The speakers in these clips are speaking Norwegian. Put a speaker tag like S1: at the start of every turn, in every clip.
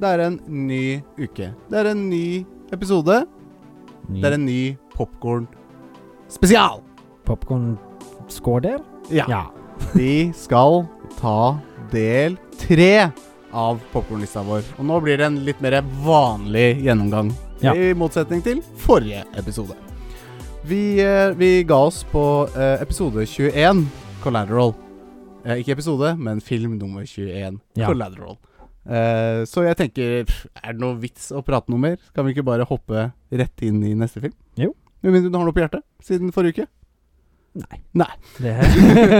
S1: det er en ny uke. Det er en ny episode. Det er en ny popkorn spesial!
S2: popkornskåder?
S1: Ja. Vi skal ta del tre av popkornlista vår. Og nå blir det en litt mer vanlig gjennomgang,
S2: Ja.
S1: i motsetning til forrige episode. Vi, eh, vi ga oss på eh, episode 21, Collateral. Eh, ikke episode, men film nummer 21,
S2: Ja.
S1: Collateral. Eh, så jeg tenker, pff, er det noe vits å prate noe mer? Kan vi ikke bare hoppe rett inn i neste film?
S2: Jo.
S1: Med mindre du har noe på hjertet siden forrige uke?
S2: Nei.
S1: Nei.
S2: Det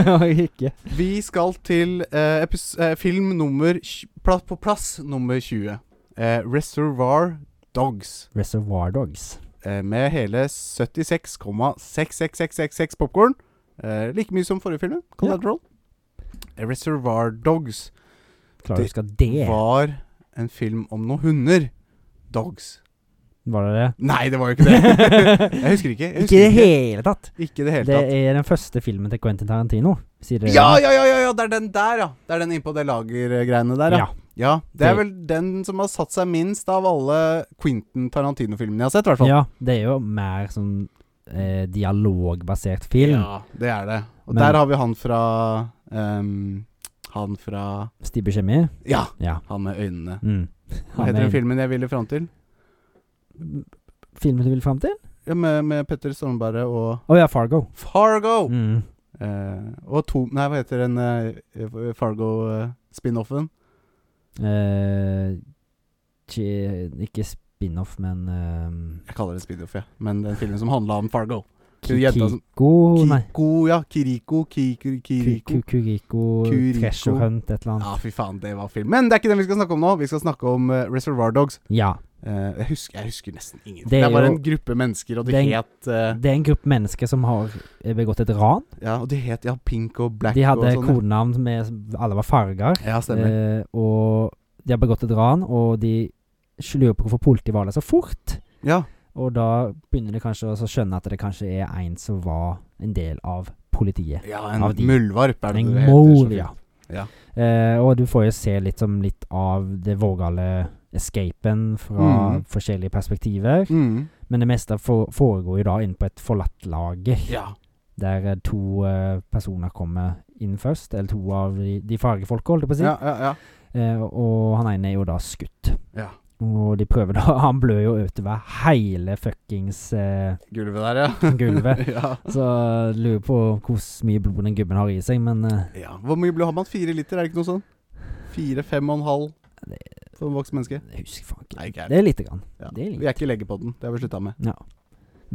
S2: har jeg ikke.
S1: Vi skal til eh, epis- eh, film nummer tj- pla På plass nummer 20. Eh, Reservoir Dogs.
S2: Reservoir Dogs.
S1: Eh, med hele 76,66666 popkorn. Eh, like mye som forrige film. Collateral. Eh, Reservoir Dogs
S2: Klarer
S1: Det
S2: du å huske det?
S1: var en film om noen hunder. Dogs.
S2: Var det det?
S1: Nei, det var jo ikke det. Jeg husker ikke. Jeg
S2: Ikke i
S1: husker
S2: det hele tatt.
S1: Ikke i det hele
S2: Det
S1: tatt.
S2: er den første filmen til Quentin Tarantino. Sier dere
S1: Ja,
S2: det?
S1: ja, ja, ja, ja, det er den der, ja. Det er den innpå det lagergreiene der, ja.
S2: ja.
S1: Ja, det er
S2: Det-
S1: vel den som har satt seg minst av alle Quentin Tarantino-filmene jeg har sett, i hvert fall.
S2: Ja, det er jo mer sånn eh, dialogbasert film.
S1: det er det. Og
S2: Men-
S1: der har vi han fra ehm, Han fra
S2: Stibbe Kjemi.
S1: Ja,
S2: Ja.
S1: han med øynene.
S2: Mm.
S1: Hva heter den filmen jeg ville fram til?
S2: filmen? Filmen du vil fram til?
S1: Ja, med, med Petter Stormbare og
S2: Å ja, Fargo.
S1: Fargo!
S2: Mm.
S1: Eh, og to Nei, hva heter den eh, Fargo-spin-offen?
S2: Eh, chi- ikke spin-off, men eh,
S1: Jeg kaller det spin-off, ja. Men den filmen som handla om Fargo. Hun jenta som-
S2: Kikiko Nei.
S1: Kiko, ja. Kiriko. Kiko,
S2: Ku-
S1: Kiriko.
S2: ku- Kuriko,
S1: Kuriko.
S2: Treasure Hunt, et eller annet.
S1: Ja, fy faen, det var film. Men det er ikke den vi skal snakke om nå. Vi skal snakke om eh, Reservoir Dogs.
S2: Ja.
S1: Eh, jeg, husker, jeg husker nesten ingenting.
S2: Det
S1: Det,
S2: er
S1: var
S2: jo-
S1: en gruppe mennesker, og de
S2: Den-
S1: het eh,
S2: Det er en gruppe mennesker som har eh, begått et ran.
S1: Ja, og de het ja, Pink og Black
S2: De hadde
S1: og sånn.
S2: kodenavn med Alle var farger.
S1: Ja, stemmer.
S2: Eh, og de har begått et ran, og de lurer på hvorfor politiet var der så fort.
S1: ja,
S2: Og da begynner de kanskje også å skjønne at det kanskje er en som var en del av politiet.
S1: ja, en
S2: av de.
S1: muldvarp er det
S2: En
S1: det
S2: mole,
S1: så
S2: ja.
S1: fint. Ja.
S2: Eh, og du får jo se litt, som litt av det vågale escapen fra
S1: Mm.
S2: forskjellige perspektiver.
S1: Mm.
S2: Men det meste for, foregår jo da inne på et forlatt lager,
S1: ja.
S2: der eh, to eh, personer kommer inn først. Eller to av de, de fargefolka, holdt jeg på å si.
S1: Ja, ja, ja.
S2: Eh, og han ene er jo da skutt.
S1: Ja.
S2: Og de prøver da Han blør jo utover hele fuckings eh,
S1: Gulvet der, ja.
S2: gulvet.
S1: ja.
S2: Så eh, lurer på hvor mye blod den gubben har i seg, men eh,
S1: ja. Hvor mye blod har man? Fire liter, er det ikke noe sånn? Fire, fem og en halv for en voksen menneske?
S2: jeg husker faen ikke.
S1: Nei, ikke jeg.
S2: Det er lite grann.
S1: Ja.
S2: det er litt.
S1: Vi er ikke legepodden, det har vi slutta med.
S2: Ja.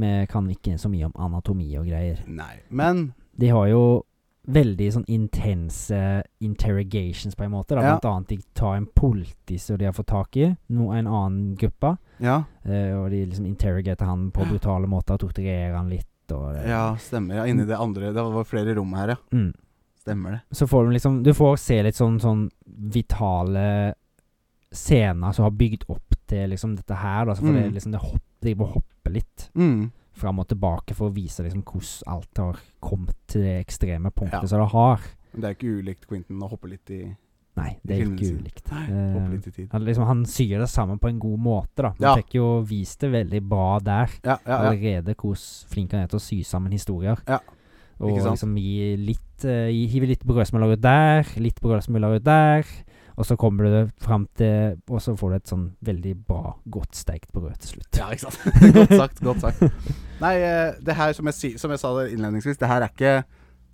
S2: Vi kan ikke så mye om anatomi og greier.
S1: Nei. Men
S2: De har jo veldig sånn intense interrogations, på en måte. Da.
S1: Ja.
S2: Blant annet de tar en politi som de har fått tak i, no, en annen gruppe.
S1: Ja,
S2: eh, og de liksom interrogater han på brutale måter og torturerer han litt. Og det.
S1: ja stemmer. Ja, inni det andre Det var flere rom her, ja.
S2: Mm.
S1: Stemmer det.
S2: så får du liksom Du får se litt sånn, sånn vitale scener som har bygd opp til liksom dette her. Da. Så får
S1: Mm.
S2: det liksom Det hopp, de må hoppe litt
S1: Mm.
S2: fram og tilbake for å vise liksom hvordan alt har kommet til det ekstreme punktet
S1: Ja.
S2: som det har.
S1: Men det er ikke ulikt Quentin å hoppe litt i
S2: Nei, det er ikke
S1: filmene sine.
S2: ulikt.
S1: Nei,
S2: Eh,
S1: hoppe litt i tid.
S2: han, liksom, han syr det sammen på en god måte, da. Han
S1: Ja.
S2: fikk jo vist det veldig bra der.
S1: Ja, ja, ja.
S2: Allerede hvor flink han er til å sy sammen historier.
S1: Ja,
S2: Og
S1: ikke sant?
S2: liksom gi litt eh, gi- Hive litt brødsmuler ut der, litt brødsmuler ut der. Og så kommer du fram til Og så får du et sånn veldig bra, godt steikt brød til slutt.
S1: Ja, ikke sant. godt sagt. godt sagt Nei, eh, det her som jeg, si, som jeg sa det innledningsvis, det her er ikke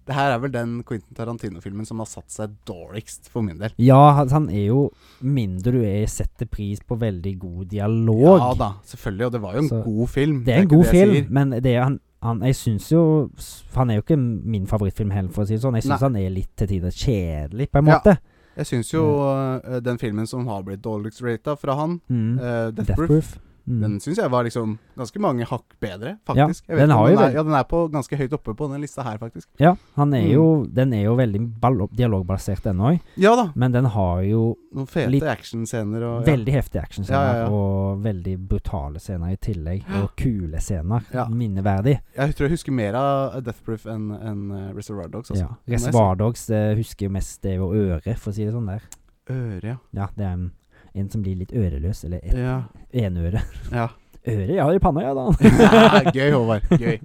S1: Det her er vel den Quentin Tarantino-filmen som har satt seg dårligst, for min del.
S2: Ja, han- han er jo Mindre du er, setter pris på veldig god dialog.
S1: Ja da, selvfølgelig. Og det var jo en
S2: Så-
S1: god film.
S2: Det er en
S1: ikke
S2: god
S1: jeg
S2: film,
S1: sier.
S2: men det er han, han Jeg syns jo s- Han er jo ikke min favorittfilm heller, for å si det sånn. Jeg syns
S1: Nei.
S2: han er litt til tider kjedelig, på en
S1: Ja.
S2: måte.
S1: Jeg syns jo eh, den filmen som har blitt dårligst rata fra han,
S2: Mm.
S1: eh, Death,
S2: Death
S1: Proof,
S2: Proof. Mm.
S1: den syns jeg var liksom ganske mange hakk bedre, faktisk.
S2: Ja,
S1: jeg vet
S2: den
S1: ikke om
S2: har
S1: den,
S2: jo vel-
S1: er, ja, den er på ganske høyt oppe på den lista her, faktisk.
S2: ja, han er
S1: Mm.
S2: jo Den er jo veldig ball- dialogbasert, den òg,
S1: Ja da,
S2: men den har jo
S1: noen fete
S2: Litt-
S1: actionscener og ja.
S2: veldig heftige actionscener
S1: Ja, ja, ja.
S2: og veldig brutale scener i tillegg. Og kule scener.
S1: Ja.
S2: Minneverdig.
S1: Jeg tror jeg husker mer av Death Proof enn enn, eh, Reservoir Dogs. Altså.
S2: Ja. Reservoir Dogs eh, husker jo mest det er jo øret, for å si det sånn der.
S1: Øre, ja.
S2: Ja, det er en, En som blir litt øreløs, eller et,
S1: Ja.
S2: enøre.
S1: ja.
S2: Øre jeg har i panna, ja da.
S1: Ja, gøy, Håvard. Gøy.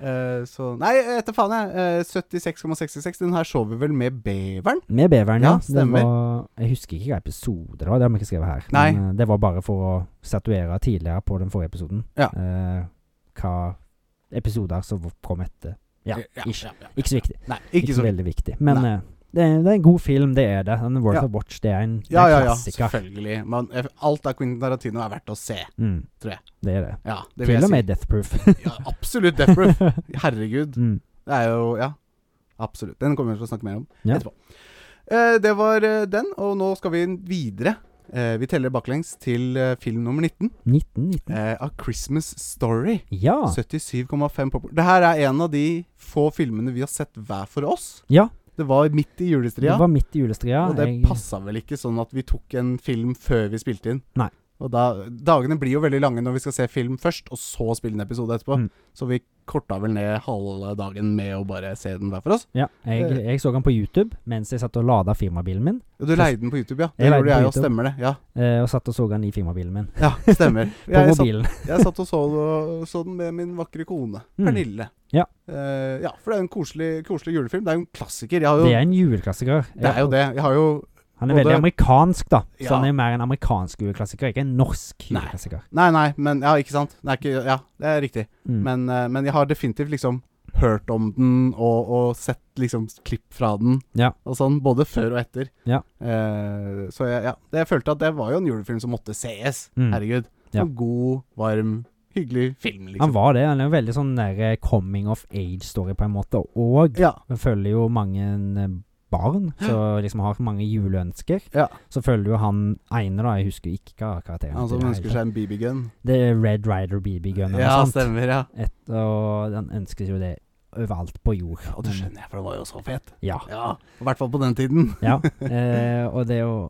S1: Eh, så Nei, etter faen, jeg. Eh, 76,66. Den her så vi vel med beveren?
S2: Med beveren,
S1: Ja,
S2: ja.
S1: stemmer.
S2: Det var, jeg husker ikke hva episode det var, det har vi ikke skrevet her.
S1: Nei.
S2: Men eh, det var bare for å statuere tidligere på den forrige episoden
S1: Ja.
S2: eh, hva episoder som kom etter. Ja, ish.
S1: ja, ja.
S2: Ikke så viktig.
S1: Nei,
S2: Ikke,
S1: ikke så
S2: veldig viktig. Men
S1: Nei.
S2: eh, det, er, det er en god film, det er det. Den er Worth
S1: Ja.
S2: of Watch, det er en, det
S1: Ja,
S2: er en
S1: ja, ja.
S2: klassiker.
S1: Selvfølgelig. Men eh, alt av Quentin Tarantino er verdt å se.
S2: Mm.
S1: Tror jeg.
S2: Det er det.
S1: Ja, det vil
S2: Til og
S1: jeg
S2: med Death Proof.
S1: si. Ja, absolutt Death Proof. Herregud.
S2: mm.
S1: Det er jo Ja, absolutt. Den kommer vi til å snakke mer om
S2: Ja.
S1: etterpå. Eh, det var eh, den, og nå skal vi videre. Eh, vi teller baklengs til eh, film nummer 19,
S2: 1919.
S1: eh, A Christmas Story.
S2: Ja.
S1: 77,5 popkorn. Det her er en av de få filmene vi har sett hver for oss.
S2: ja.
S1: Det var midt i
S2: Det
S1: julestria,
S2: var midt i julestria.
S1: og det
S2: Jeg-
S1: passa vel ikke sånn at vi tok en film før vi spilte inn.
S2: Nei.
S1: Og da, Dagene blir jo veldig lange når vi skal se film først, og så spille en episode etterpå.
S2: Mm.
S1: Så vi korta vel ned halve dagen med å bare se den hver for oss.
S2: Ja, jeg,
S1: Eh.
S2: jeg så den på YouTube mens jeg satt og lada firmabilen min.
S1: Og Du leide den på YouTube, ja. Det
S2: Jeg leide
S1: gjorde
S2: den på
S1: jeg òg,
S2: YouTube.
S1: stemmer det. Ja,
S2: Eh, og satt og så den i firmabilen min.
S1: ja stemmer.
S2: På
S1: Jeg satt,
S2: mobilen.
S1: jeg satt og så, så den med min vakre kone,
S2: Mm.
S1: Pernille.
S2: Ja.
S1: Eh, ja, for det er jo en koselig, koselig julefilm. Det er jo en klassiker. Jeg har jo
S2: Det er en juleklassiker.
S1: Det er jo det. Jeg har jo
S2: Han er
S1: både-
S2: veldig amerikansk, da. Så
S1: Ja.
S2: han er mer en amerikansk juleklassiker, ikke en norsk
S1: Nei.
S2: juleklassiker.
S1: Nei, nei, men Ja, ikke sant? Det er ikke Ja, det er riktig.
S2: Mm.
S1: Men, eh, men jeg har definitivt liksom hørt om den og, og sett liksom klipp fra den
S2: Ja.
S1: og sånn, både før og etter.
S2: Ja.
S1: Eh, så jeg, ja, det, jeg følte at det var jo en julefilm som måtte sees.
S2: Mm.
S1: Herregud.
S2: Ja.
S1: En god, varm, hyggelig film,
S2: Han
S1: liksom.
S2: var det. Han er jo veldig sånn der eh, coming of age-story på en måte. Og
S1: Ja.
S2: han følger jo mange eh, barn som liksom har mange juleønsker.
S1: Ja.
S2: Så følger jo han ene, da. Jeg husker ikke hva karakteren
S1: Han
S2: heter i
S1: som
S2: det
S1: ønsker
S2: hele tatt.
S1: seg en BB-gun.
S2: Det er Red Rider BB Gun eller
S1: Ja,
S2: noe sånt.
S1: stemmer, ja.
S2: Et, og han ønsker jo det overalt på jord.
S1: ja. Og det
S2: Men-
S1: skjønner jeg, for den var jo så fet.
S2: Ja.
S1: Ja, I hvert fall på den tiden.
S2: Ja, eh, og det er jo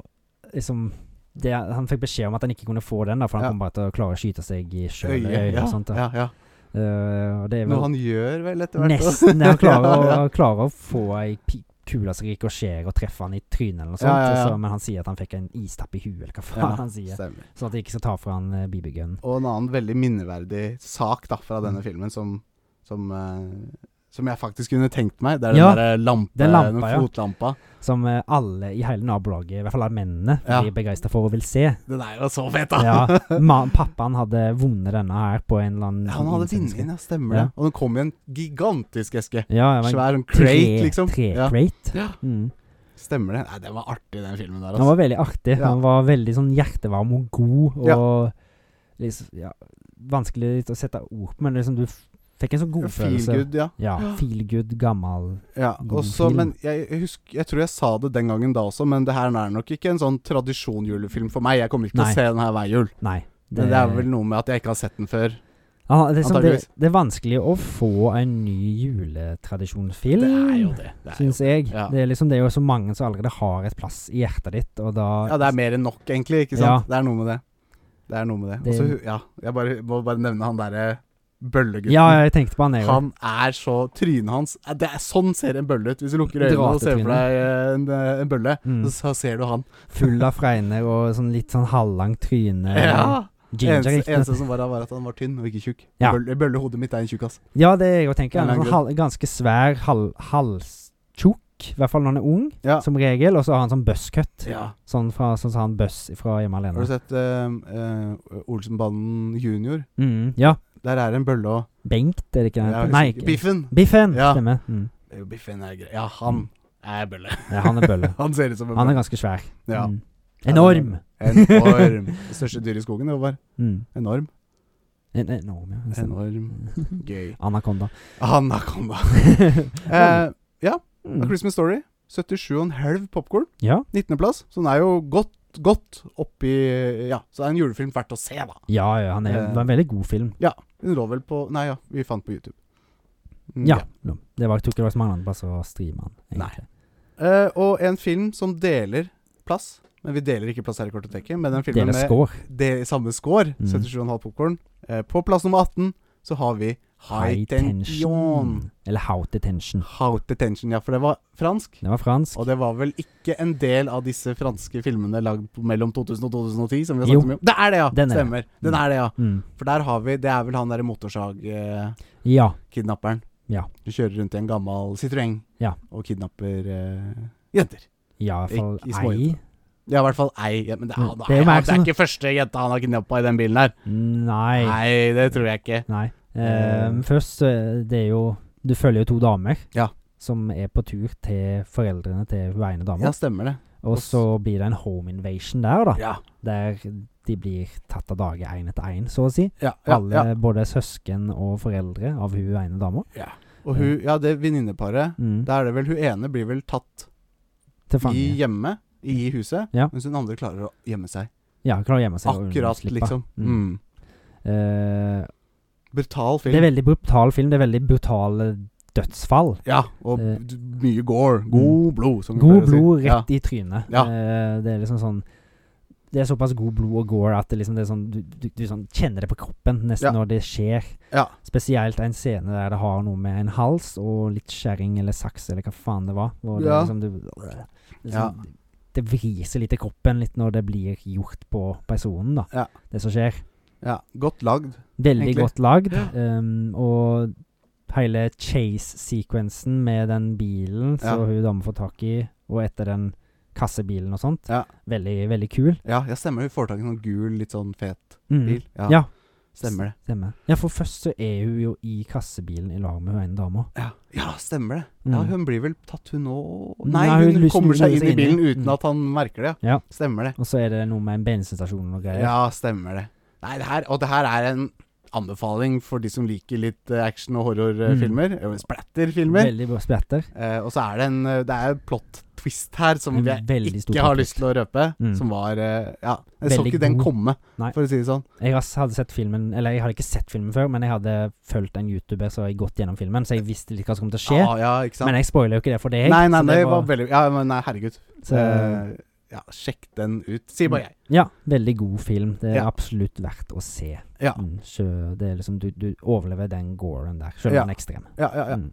S2: liksom det, Han fikk beskjed om at han ikke kunne få den, da, for han
S1: Ja.
S2: kom bare til å klare å skyte seg i sjøl.
S1: ja,
S2: og sånt, da.
S1: ja, ja.
S2: Eh, og det er
S1: Noe
S2: vel
S1: han gjør vel etter hvert. også.
S2: nesten Han klarer å,
S1: Ja, ja.
S2: klarer å få ei pi- kule som rikosjerer og treffer han i trynet, eller noe
S1: Ja,
S2: sånt.
S1: ja, ja.
S2: og Så, men han sier at han fikk en istapp i huet, eller hva faen
S1: Ja,
S2: han sier.
S1: Stemmer.
S2: Sånn at de ikke skal ta fra han eh, BB-gunnen.
S1: Og en annen veldig minneverdig sak da, fra
S2: Mm.
S1: denne filmen som, som, eh, som jeg faktisk kunne tenkt meg. Det er den
S2: Ja,
S1: derre lampe, den
S2: den lampa, ja.
S1: fotlampa.
S2: Som eh, alle i hele nabolaget, i hvert fall alle mennene,
S1: Ja.
S2: blir begeistra for og vil se.
S1: Den er jo så fet, da!
S2: Ja, ma Pappaen hadde vunnet denne her på en eller annen
S1: Han hadde vunnet,
S2: innsendelse.
S1: ja, stemmer
S2: Ja.
S1: det. Og den kom i en gigantisk eske.
S2: Ja, det
S1: Svær
S2: var en
S1: sånn
S2: tre,
S1: crate, liksom.
S2: Tre
S1: Ja,
S2: crate.
S1: Ja.
S2: Mm.
S1: stemmer det. Nei, den var artig, den filmen der.
S2: Han
S1: Altså.
S2: var veldig artig.
S1: Ja.
S2: Han var veldig sånn hjertevarm og god, og
S1: Ja.
S2: liksom, ja, vanskelig litt å sette ord på, men liksom du f- fikk en sånn god følelse.
S1: Feelgood, ja.
S2: Ja, feel good, gammel
S1: ja.
S2: God
S1: Og så,
S2: film.
S1: men jeg, jeg, husker, jeg tror jeg sa det den gangen da også, men det her er nok ikke en sånn tradisjonjulefilm for meg. Jeg kommer ikke til
S2: Nei.
S1: å se den her hver jul.
S2: Nei.
S1: Men det er vel noe med at jeg ikke har sett den før.
S2: Ja, det, er sånn, det,
S1: antageligvis.
S2: det er vanskelig å få en ny juletradisjonsfilm.
S1: Det er jo det. det, er jo.
S2: Syns jeg.
S1: Ja.
S2: Det er liksom det er jo så mange som allerede har et plass i hjertet ditt, og da
S1: Ja, det er mer enn nok, egentlig. ikke sant?
S2: Ja.
S1: Det er noe med det. Det er noe med det.
S2: Det-
S1: Også, hu- ja, jeg bare, må bare nevne han derre bøllegutten.
S2: Ja, jeg tenkte på han, jeg òg.
S1: Han er så Trynet hans eh, det er, Sånn ser en bølle ut. Hvis du lukker øynene og ser for
S2: Dratetryne.
S1: deg eh, en, eh, en bølle,
S2: Mm.
S1: så, så ser du han.
S2: Full av fregner og sånn litt sånn halvlangt tryne.
S1: Ja!
S2: Ginger,
S1: Eneste,
S2: ikke
S1: eneste som var der, var at han var tynn og ikke tjukk.
S2: Ja.
S1: Bølle, bøllehodet mitt er en tjukk, ass.
S2: Ja, det er jeg òg tenker. Han
S1: En
S2: er
S1: lang
S2: sånn hal ganske svær, hal halstjukk, i hvert fall når han er ung,
S1: Ja.
S2: som regel. Og så har han sånn buzzcut.
S1: Ja.
S2: Sånn fra sånn som han Buzz fra Hjemme
S1: Har
S2: alene.
S1: du sett eh, eh, Olsenbanden junior?
S2: Mm, ja.
S1: Der er en bølle og
S2: Bengt, er det ikke
S1: Jeg
S2: han
S1: husker
S2: heter? Nei,
S1: ikke.
S2: ikke
S1: Biffen!
S2: Biffen.
S1: Ja.
S2: Stemmer. Mm.
S1: Jo, Biffen er grei. Ja, han er bølle.
S2: Ja, han er bølle.
S1: Han ser ut som en
S2: Mm. Han
S1: bølle.
S2: er ganske svær.
S1: Ja.
S2: Mm.
S1: Ja, det er
S2: Enorm.
S1: Enorm. Det største dyret i skogen, det var
S2: Mm.
S1: enorm.
S2: En, enorm, ja. Nesten.
S1: Enorm. Gøy.
S2: Anakonda.
S1: Anakonda.
S2: Ja.
S1: Eh, A
S2: Mm.
S1: Christmas Story. 77,5 popkorn.
S2: Ja.
S1: 19.-plass. Så den er jo godt, godt oppi Ja, så det er en julefilm verdt å se, da.
S2: ja, ja, han er,
S1: Eh.
S2: det var en veldig god film.
S1: Den lå vel på Nei, ja, vi fant på YouTube. Mm,
S2: Ja. no. Det var, jeg tror ikke det var så mange andre plasser å streame han.
S1: Nei.
S2: egentlig.
S1: Eh, og en film som deler plass. Men vi deler ikke plass her i Kortoteket. Men den filmen
S2: Deler
S1: med
S2: score.
S1: det samme score,
S2: Mm.
S1: 77,5 popkorn. Eh, på plass nummer 18 så har vi High tension.
S2: Eller How to Tension.
S1: Haute tension, ja, for det var fransk.
S2: Den var fransk.
S1: Og det var vel ikke en del av disse franske filmene lagd på- mellom 2000 og 2010? som vi har
S2: Jo.
S1: snakket mye om. Det er det, ja!
S2: Den er det.
S1: Stemmer. Den er det, ja.
S2: Mm.
S1: For der har vi Det er vel han derre motorsagkidnapperen.
S2: Ja. Ja.
S1: Du kjører rundt i en gammel Citroën
S2: Ja.
S1: og kidnapper eh, jenter.
S2: Ja, i hvert
S1: Ikke i
S2: fall
S1: småjenta.
S2: ei.
S1: Ja, i hvert fall ei. Ja, men det, er-
S2: Mm,
S1: det,
S2: det er
S1: er,
S2: jo
S1: det,
S2: mer
S1: er,
S2: sånn-
S1: ikke første jenta han har kidnappa i den bilen her.
S2: Nei. Nei.
S1: Nei, det tror jeg ikke.
S2: Ehm,
S1: Eh.
S2: først, eh, det er jo Du følger jo to damer
S1: Ja.
S2: som er på tur til foreldrene til hun ene dama.
S1: Ja, stemmer det.
S2: og så blir det en home invasion der, da.
S1: Ja,
S2: Der de blir tatt av dage én etter én, så å si.
S1: ja, ja,
S2: Alle,
S1: ja.
S2: Både søsken og foreldre av hun ene dama.
S1: Og hun, ja, det venninneparet
S2: Mm.
S1: Da er det vel hun ene blir vel tatt
S2: Til fange.
S1: i hjemme, i huset,
S2: Ja.
S1: mens hun andre klarer å gjemme seg.
S2: ja, klarer å gjemme seg og
S1: Akkurat,
S2: unnslippe.
S1: liksom.
S2: Mm.
S1: Mm.
S2: Eh,
S1: Brutal film.
S2: det er veldig brutal film. Det er veldig brutale dødsfall.
S1: Ja, og
S2: Eh. Mm.
S1: d- mye gore. God blod, som vi
S2: God
S1: pleier å
S2: blod
S1: si.
S2: rett i trynet.
S1: Ja.
S2: Eh, det er liksom sånn Det er såpass god blod og gore at det liksom det er sånn, du, du, du sånn kjenner det på kroppen
S1: Ja.
S2: nesten når det skjer.
S1: Ja.
S2: Spesielt en scene der det har noe med en hals og litt skjæring eller saks eller hva faen det var. Hvor
S1: Ja.
S2: det liksom du, det, er
S1: Ja.
S2: sånn, det vriser litt i kroppen litt når det blir gjort på personen, da.
S1: Ja.
S2: Det som skjer.
S1: Ja. Godt lagd.
S2: Veldig
S1: Egentlig.
S2: godt lagd. ehm, og hele chase-sekvensen med den bilen så
S1: Ja.
S2: hun dama får tak i, og etter den kassebilen og sånt.
S1: Ja.
S2: Veldig, veldig kul.
S1: Ja, jeg stemmer. Hun får tak i en sånn gul, litt sånn fet
S2: Mm.
S1: bil. Ja,
S2: Ja.
S1: Stemmer det.
S2: Stemmer. Ja, for først så er hun jo i kassebilen i lag med hun ene dama.
S1: Ja. ja, stemmer det.
S2: Mm.
S1: Ja, hun blir vel tatt, hun nå Nei,
S2: Nei,
S1: hun,
S2: hun lyser-
S1: kommer seg inn i
S2: lyser inn i.
S1: bilen uten
S2: Mm.
S1: at han merker det.
S2: Ja.
S1: Stemmer det.
S2: Og så er det noe med en bensinstasjon og greier.
S1: Ja, stemmer det. Nei, det her, og det her er en anbefaling for de som liker litt eh, action- og horrorfilmer. Mm. Splatterfilmer.
S2: Veldig bra splatter.
S1: Eh, og så er det en eh, Det er en plot twist her som
S2: En
S1: jeg
S2: veldig stor
S1: ikke har
S2: plot
S1: lyst til å røpe.
S2: Mm.
S1: Som var eh, Ja, jeg så
S2: Veldig
S1: ikke den
S2: god.
S1: komme,
S2: Nei.
S1: for å si det sånn.
S2: Jeg has- hadde sett filmen Eller jeg hadde ikke sett filmen før, men jeg hadde fulgt en YouTuber så jeg gått gjennom filmen, så jeg visste litt hva som kom til å skje.
S1: Ja, ja, ikke sant?
S2: men jeg spoiler jo ikke det for deg.
S1: nei, nei,
S2: så
S1: det,
S2: det
S1: var veldig Ja, men nei, herregud.
S2: så, Mm.
S1: Eh, ja, sjekk den ut, sier bare jeg.
S2: Ja, veldig god film. Det er
S1: Ja.
S2: absolutt verdt å se.
S1: Ja.
S2: Mm, så det er liksom, du, du overlever den goren der, selv om
S1: Ja.
S2: den er ekstrem.
S1: Ja, ja, ja.
S2: Mm.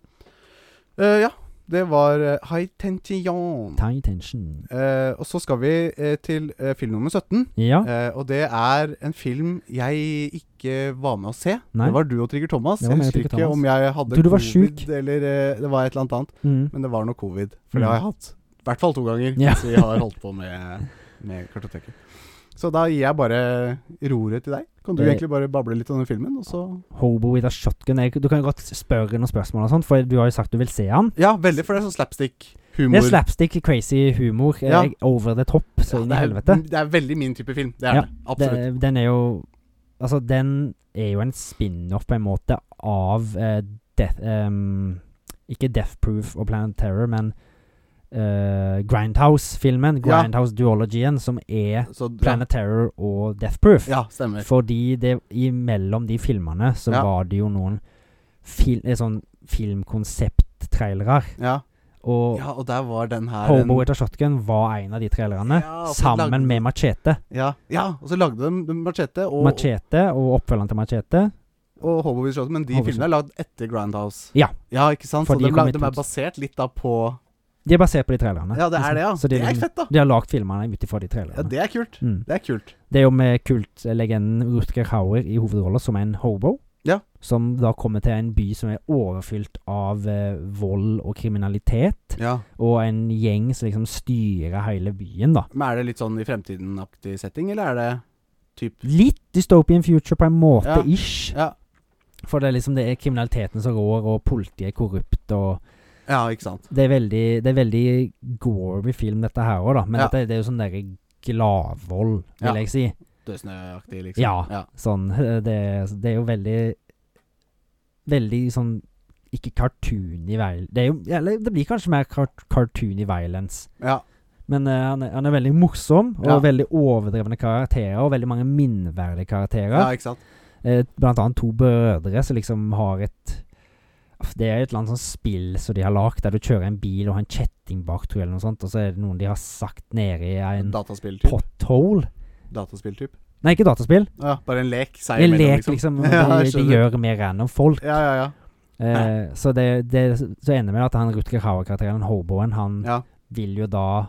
S1: Eh, ja det var eh, High Tention.
S2: Tie tension.
S1: Eh, og så skal vi eh, til eh, film nummer 17.
S2: Ja.
S1: Eh, og det er en film jeg ikke var med å se.
S2: Nei.
S1: Det var du og Trigger Thomas.
S2: Det var
S1: Jeg
S2: meg og
S1: husker
S2: Trigger
S1: ikke
S2: Thomas.
S1: om jeg hadde
S2: Tror du var
S1: covid
S2: syk.
S1: eller eh, det var et eller annet annet.
S2: Mm.
S1: Men det var noe covid, for
S2: Mm.
S1: det har jeg hatt. I hvert fall to ganger
S2: Ja.
S1: mens vi har holdt på med, med kartoteket. Så da gir jeg bare roret til deg. Kan du
S2: Det-
S1: egentlig bare bable litt om den filmen, og så
S2: Hobo with a shotgun. Jeg, du kan jo godt spørre noen spørsmål, og sånt, for du har jo sagt du vil se han.
S1: Ja, veldig, for det er sånn slapstick-humor.
S2: Det er slapstick, crazy humor. eh,
S1: Ja.
S2: Over the top, så
S1: Ja,
S2: inn
S1: det
S2: i
S1: er-
S2: helvete.
S1: Det er veldig min type film. Det er
S2: Ja,
S1: det. Absolutt.
S2: Det, den er jo Altså, den er jo en spin-off på en måte av eh, Death ehm, Ikke Death Proof og Planet Terror, men eh, Grindhouse-filmen.
S1: Ja.
S2: Grindhouse-duologien, som er
S1: Så, ja.
S2: Planet Terror og Death Proof.
S1: ja, stemmer.
S2: Fordi det imellom de filmene så
S1: Ja.
S2: var det jo noen fil, eh, sånn filmkonsept-trailere.
S1: Ja.
S2: Og
S1: ja, og der var den her
S2: Hobo
S1: en,
S2: with a Shotgun var en av de trailerne.
S1: Ja, for lagde-
S2: sammen med Machete.
S1: ja, ja, og så lagde de Machete og,
S2: Machete og oppfølgeren til Machete.
S1: og Hobo with Shotgun, men de
S2: Hobo with
S1: filmene er lagd etter Grindhouse.
S2: Ja.
S1: ja ikke sant?
S2: For
S1: så
S2: de
S1: de,
S2: kom
S1: lag-
S2: i
S1: de er
S2: 2000.
S1: basert litt da på
S2: De er basert på de trailerne.
S1: Ja, det er
S2: liksom.
S1: det, ja.
S2: Så de,
S1: det er
S2: liksom,
S1: fett, da.
S2: de har lagd filmene ut ifra de
S1: Ja,
S2: trailerne.
S1: det er kult.
S2: Mm.
S1: Det er kult.
S2: Det er jo med kultlegenden Rutger Hauer i hovedrollen som en hobo.
S1: Ja.
S2: Som da kommer til en by som er overfylt av eh, vold og kriminalitet.
S1: Ja.
S2: Og en gjeng som liksom styrer hele byen, da.
S1: Men er det litt sånn i fremtiden-aktig setting, eller er det typ
S2: Litt dystopian future på en måte,
S1: Ja.
S2: ish.
S1: Ja.
S2: For det er liksom det er kriminaliteten som rår, og politiet er korrupt, og
S1: ja, ikke sant.
S2: Det er veldig, det er veldig gory film, dette her òg, da. Men
S1: Ja.
S2: dette, det er jo sånn derre gladvold, vil
S1: Ja.
S2: jeg si.
S1: Dødsnøaktig, liksom.
S2: Ja.
S1: ja.
S2: Sånn det, det er jo veldig Veldig sånn Ikke cartoony violence det, er jo- eller det blir kanskje mer car cartoony violence.
S1: ja.
S2: Men eh, han, er, han er veldig morsom, og
S1: Ja.
S2: veldig overdrevne karakterer, og veldig mange minneverdige karakterer.
S1: ja ikke sant.
S2: Eh, blant annet to brødre som liksom har et Det er et eller annet sånt spill som de har lagd, der du kjører en bil og har en kjetting bak, tror jeg, eller noe sånt, og så er det noen de har sagt nede i en
S1: Dataspill-typ.
S2: pothole.
S1: Dataspill-typ.
S2: Nei, ikke dataspill.
S1: Ja, bare en lek seg
S2: En
S1: imellom,
S2: lek, liksom.
S1: Ja,
S2: de,
S1: jeg
S2: de
S1: skjønner.
S2: gjør med random folk.
S1: Ja, ja, ja.
S2: Eh, så det, det så ender med at han Rutger Hauer-karakteren, hoboen, han
S1: ja.
S2: vil jo da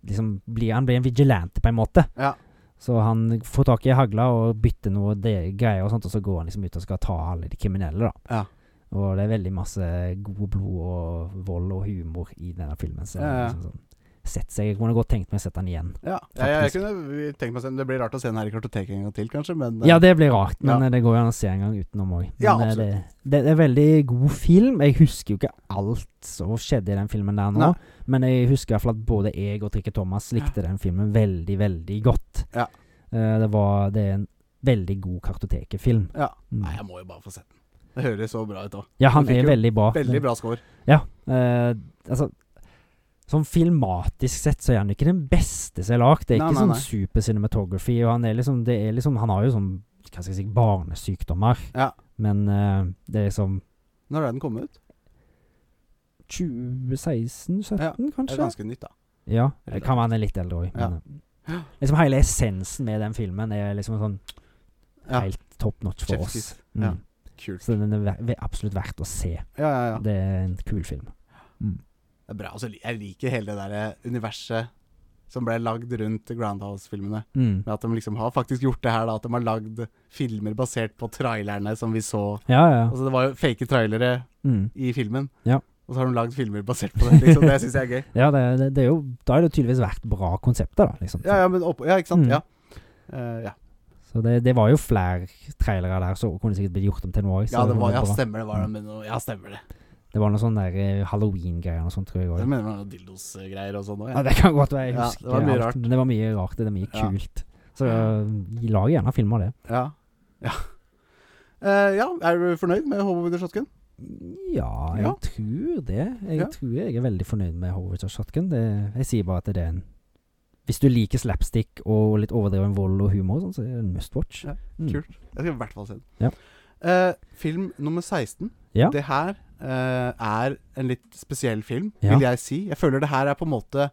S2: liksom bli Han blir en vigilante, på en måte.
S1: Ja.
S2: Så han får tak i hagla og bytter noe de- greier og sånt, og så går han liksom ut og skal ta alle de kriminelle, da.
S1: Ja.
S2: Og det er veldig masse god blod og vold og humor i denne filmen. Så
S1: Ja, ja.
S2: liksom sånn, sett seg, jeg kunne godt tenkt meg å sette den igjen.
S1: Ja, jeg, jeg
S2: Faktisk.
S1: kunne tenkt meg å se den. Det blir rart å se den her i kartoteket en gang til, kanskje, men eh,
S2: Ja, det blir rart, men
S1: Ja.
S2: eh, det går jo an å se en gang utenom òg.
S1: Ja,
S2: det, det er en veldig god film. Jeg husker jo ikke alt som skjedde i den filmen der nå,
S1: Nei.
S2: men jeg husker i hvert fall at både jeg og Trikke Thomas likte den filmen veldig, veldig godt.
S1: Ja.
S2: Eh, det, var, det er en veldig god kartotekefilm.
S1: Ja.
S2: Mm.
S1: Nei, jeg må jo bare få sett den. Det høres så bra ut òg.
S2: ja, han
S1: den fikk
S2: er
S1: jo
S2: veldig bra.
S1: Veldig bra score.
S2: Ja. eh, altså Sånn filmatisk sett så er han ikke den beste som er lagd. Det er
S1: Nei,
S2: ikke
S1: nei,
S2: sånn super cinematography. Og han, er liksom, det er liksom, han har jo sånn hva skal jeg si, barnesykdommer.
S1: Ja.
S2: Men eh, det er liksom
S1: Når er den kommet ut?
S2: 2016-2017,
S1: Ja, Det er
S2: kanskje?
S1: ganske nytt, da.
S2: Ja. Det kan være han er litt eldre òg.
S1: Ja.
S2: Liksom hele essensen med den filmen er liksom sånn
S1: Ja.
S2: helt top notch for
S1: Chef's
S2: oss. Mm.
S1: kiss. Ja. Kult.
S2: Så den er ver- ver- absolutt verdt å se.
S1: Ja, ja, ja.
S2: Det er en kul film.
S1: Det er bra. Altså, jeg liker hele det der eh, universet som ble lagd rundt Groundhouse-filmene.
S2: Mm.
S1: Med At de liksom har faktisk gjort det her, da. At de har lagd filmer basert på trailerne som vi så.
S2: Ja, ja.
S1: Altså, det var jo fake trailere
S2: Mm.
S1: i filmen.
S2: Ja.
S1: Og så har de lagd filmer basert på det. Liksom. Det syns jeg er gøy.
S2: Ja, det, det, det er jo, da har det tydeligvis vært bra konsepter, da. Liksom.
S1: Ja, ja, men opp, ja ikke sant?
S2: Mm.
S1: Ja. Eh, ja.
S2: Så det, det var jo flere trailere der, så kunne det sikkert blitt gjort om til noe òg.
S1: ja, det var, ja, stemmer det. Var det, men, nå- ja, stemmer det.
S2: det var noe sånn der eh, halloween-greier og sånt, tror jeg
S1: Jeg
S2: òg.
S1: mener det var noen dildos-greier og sånn òg.
S2: Ja,
S1: Ja.
S2: det kan godt være. Jeg
S1: Ja,
S2: husker
S1: det var mye
S2: alt,
S1: rart.
S2: Men det var mye rart. Det er mye
S1: Ja.
S2: kult. Så eh, lag gjerne film av det.
S1: Ja. Ja. Eh, ja, er du fornøyd med Hobo Wither Shotgun?
S2: Ja, jeg
S1: Ja.
S2: tror det. Jeg
S1: Ja.
S2: tror jeg er veldig fornøyd med Horowitz og Shotgun. Det, jeg sier bare at det er en Hvis du liker slapstick og litt overdreven vold og humor, og sånn, så er det en must watch.
S1: Ja,
S2: Mm.
S1: kult. Jeg skal i hvert fall se den.
S2: Ja.
S1: Eh, film nummer 16.
S2: Ja.
S1: Det her eh, er en litt spesiell film,
S2: Ja.
S1: vil jeg si. Jeg føler det her er på en måte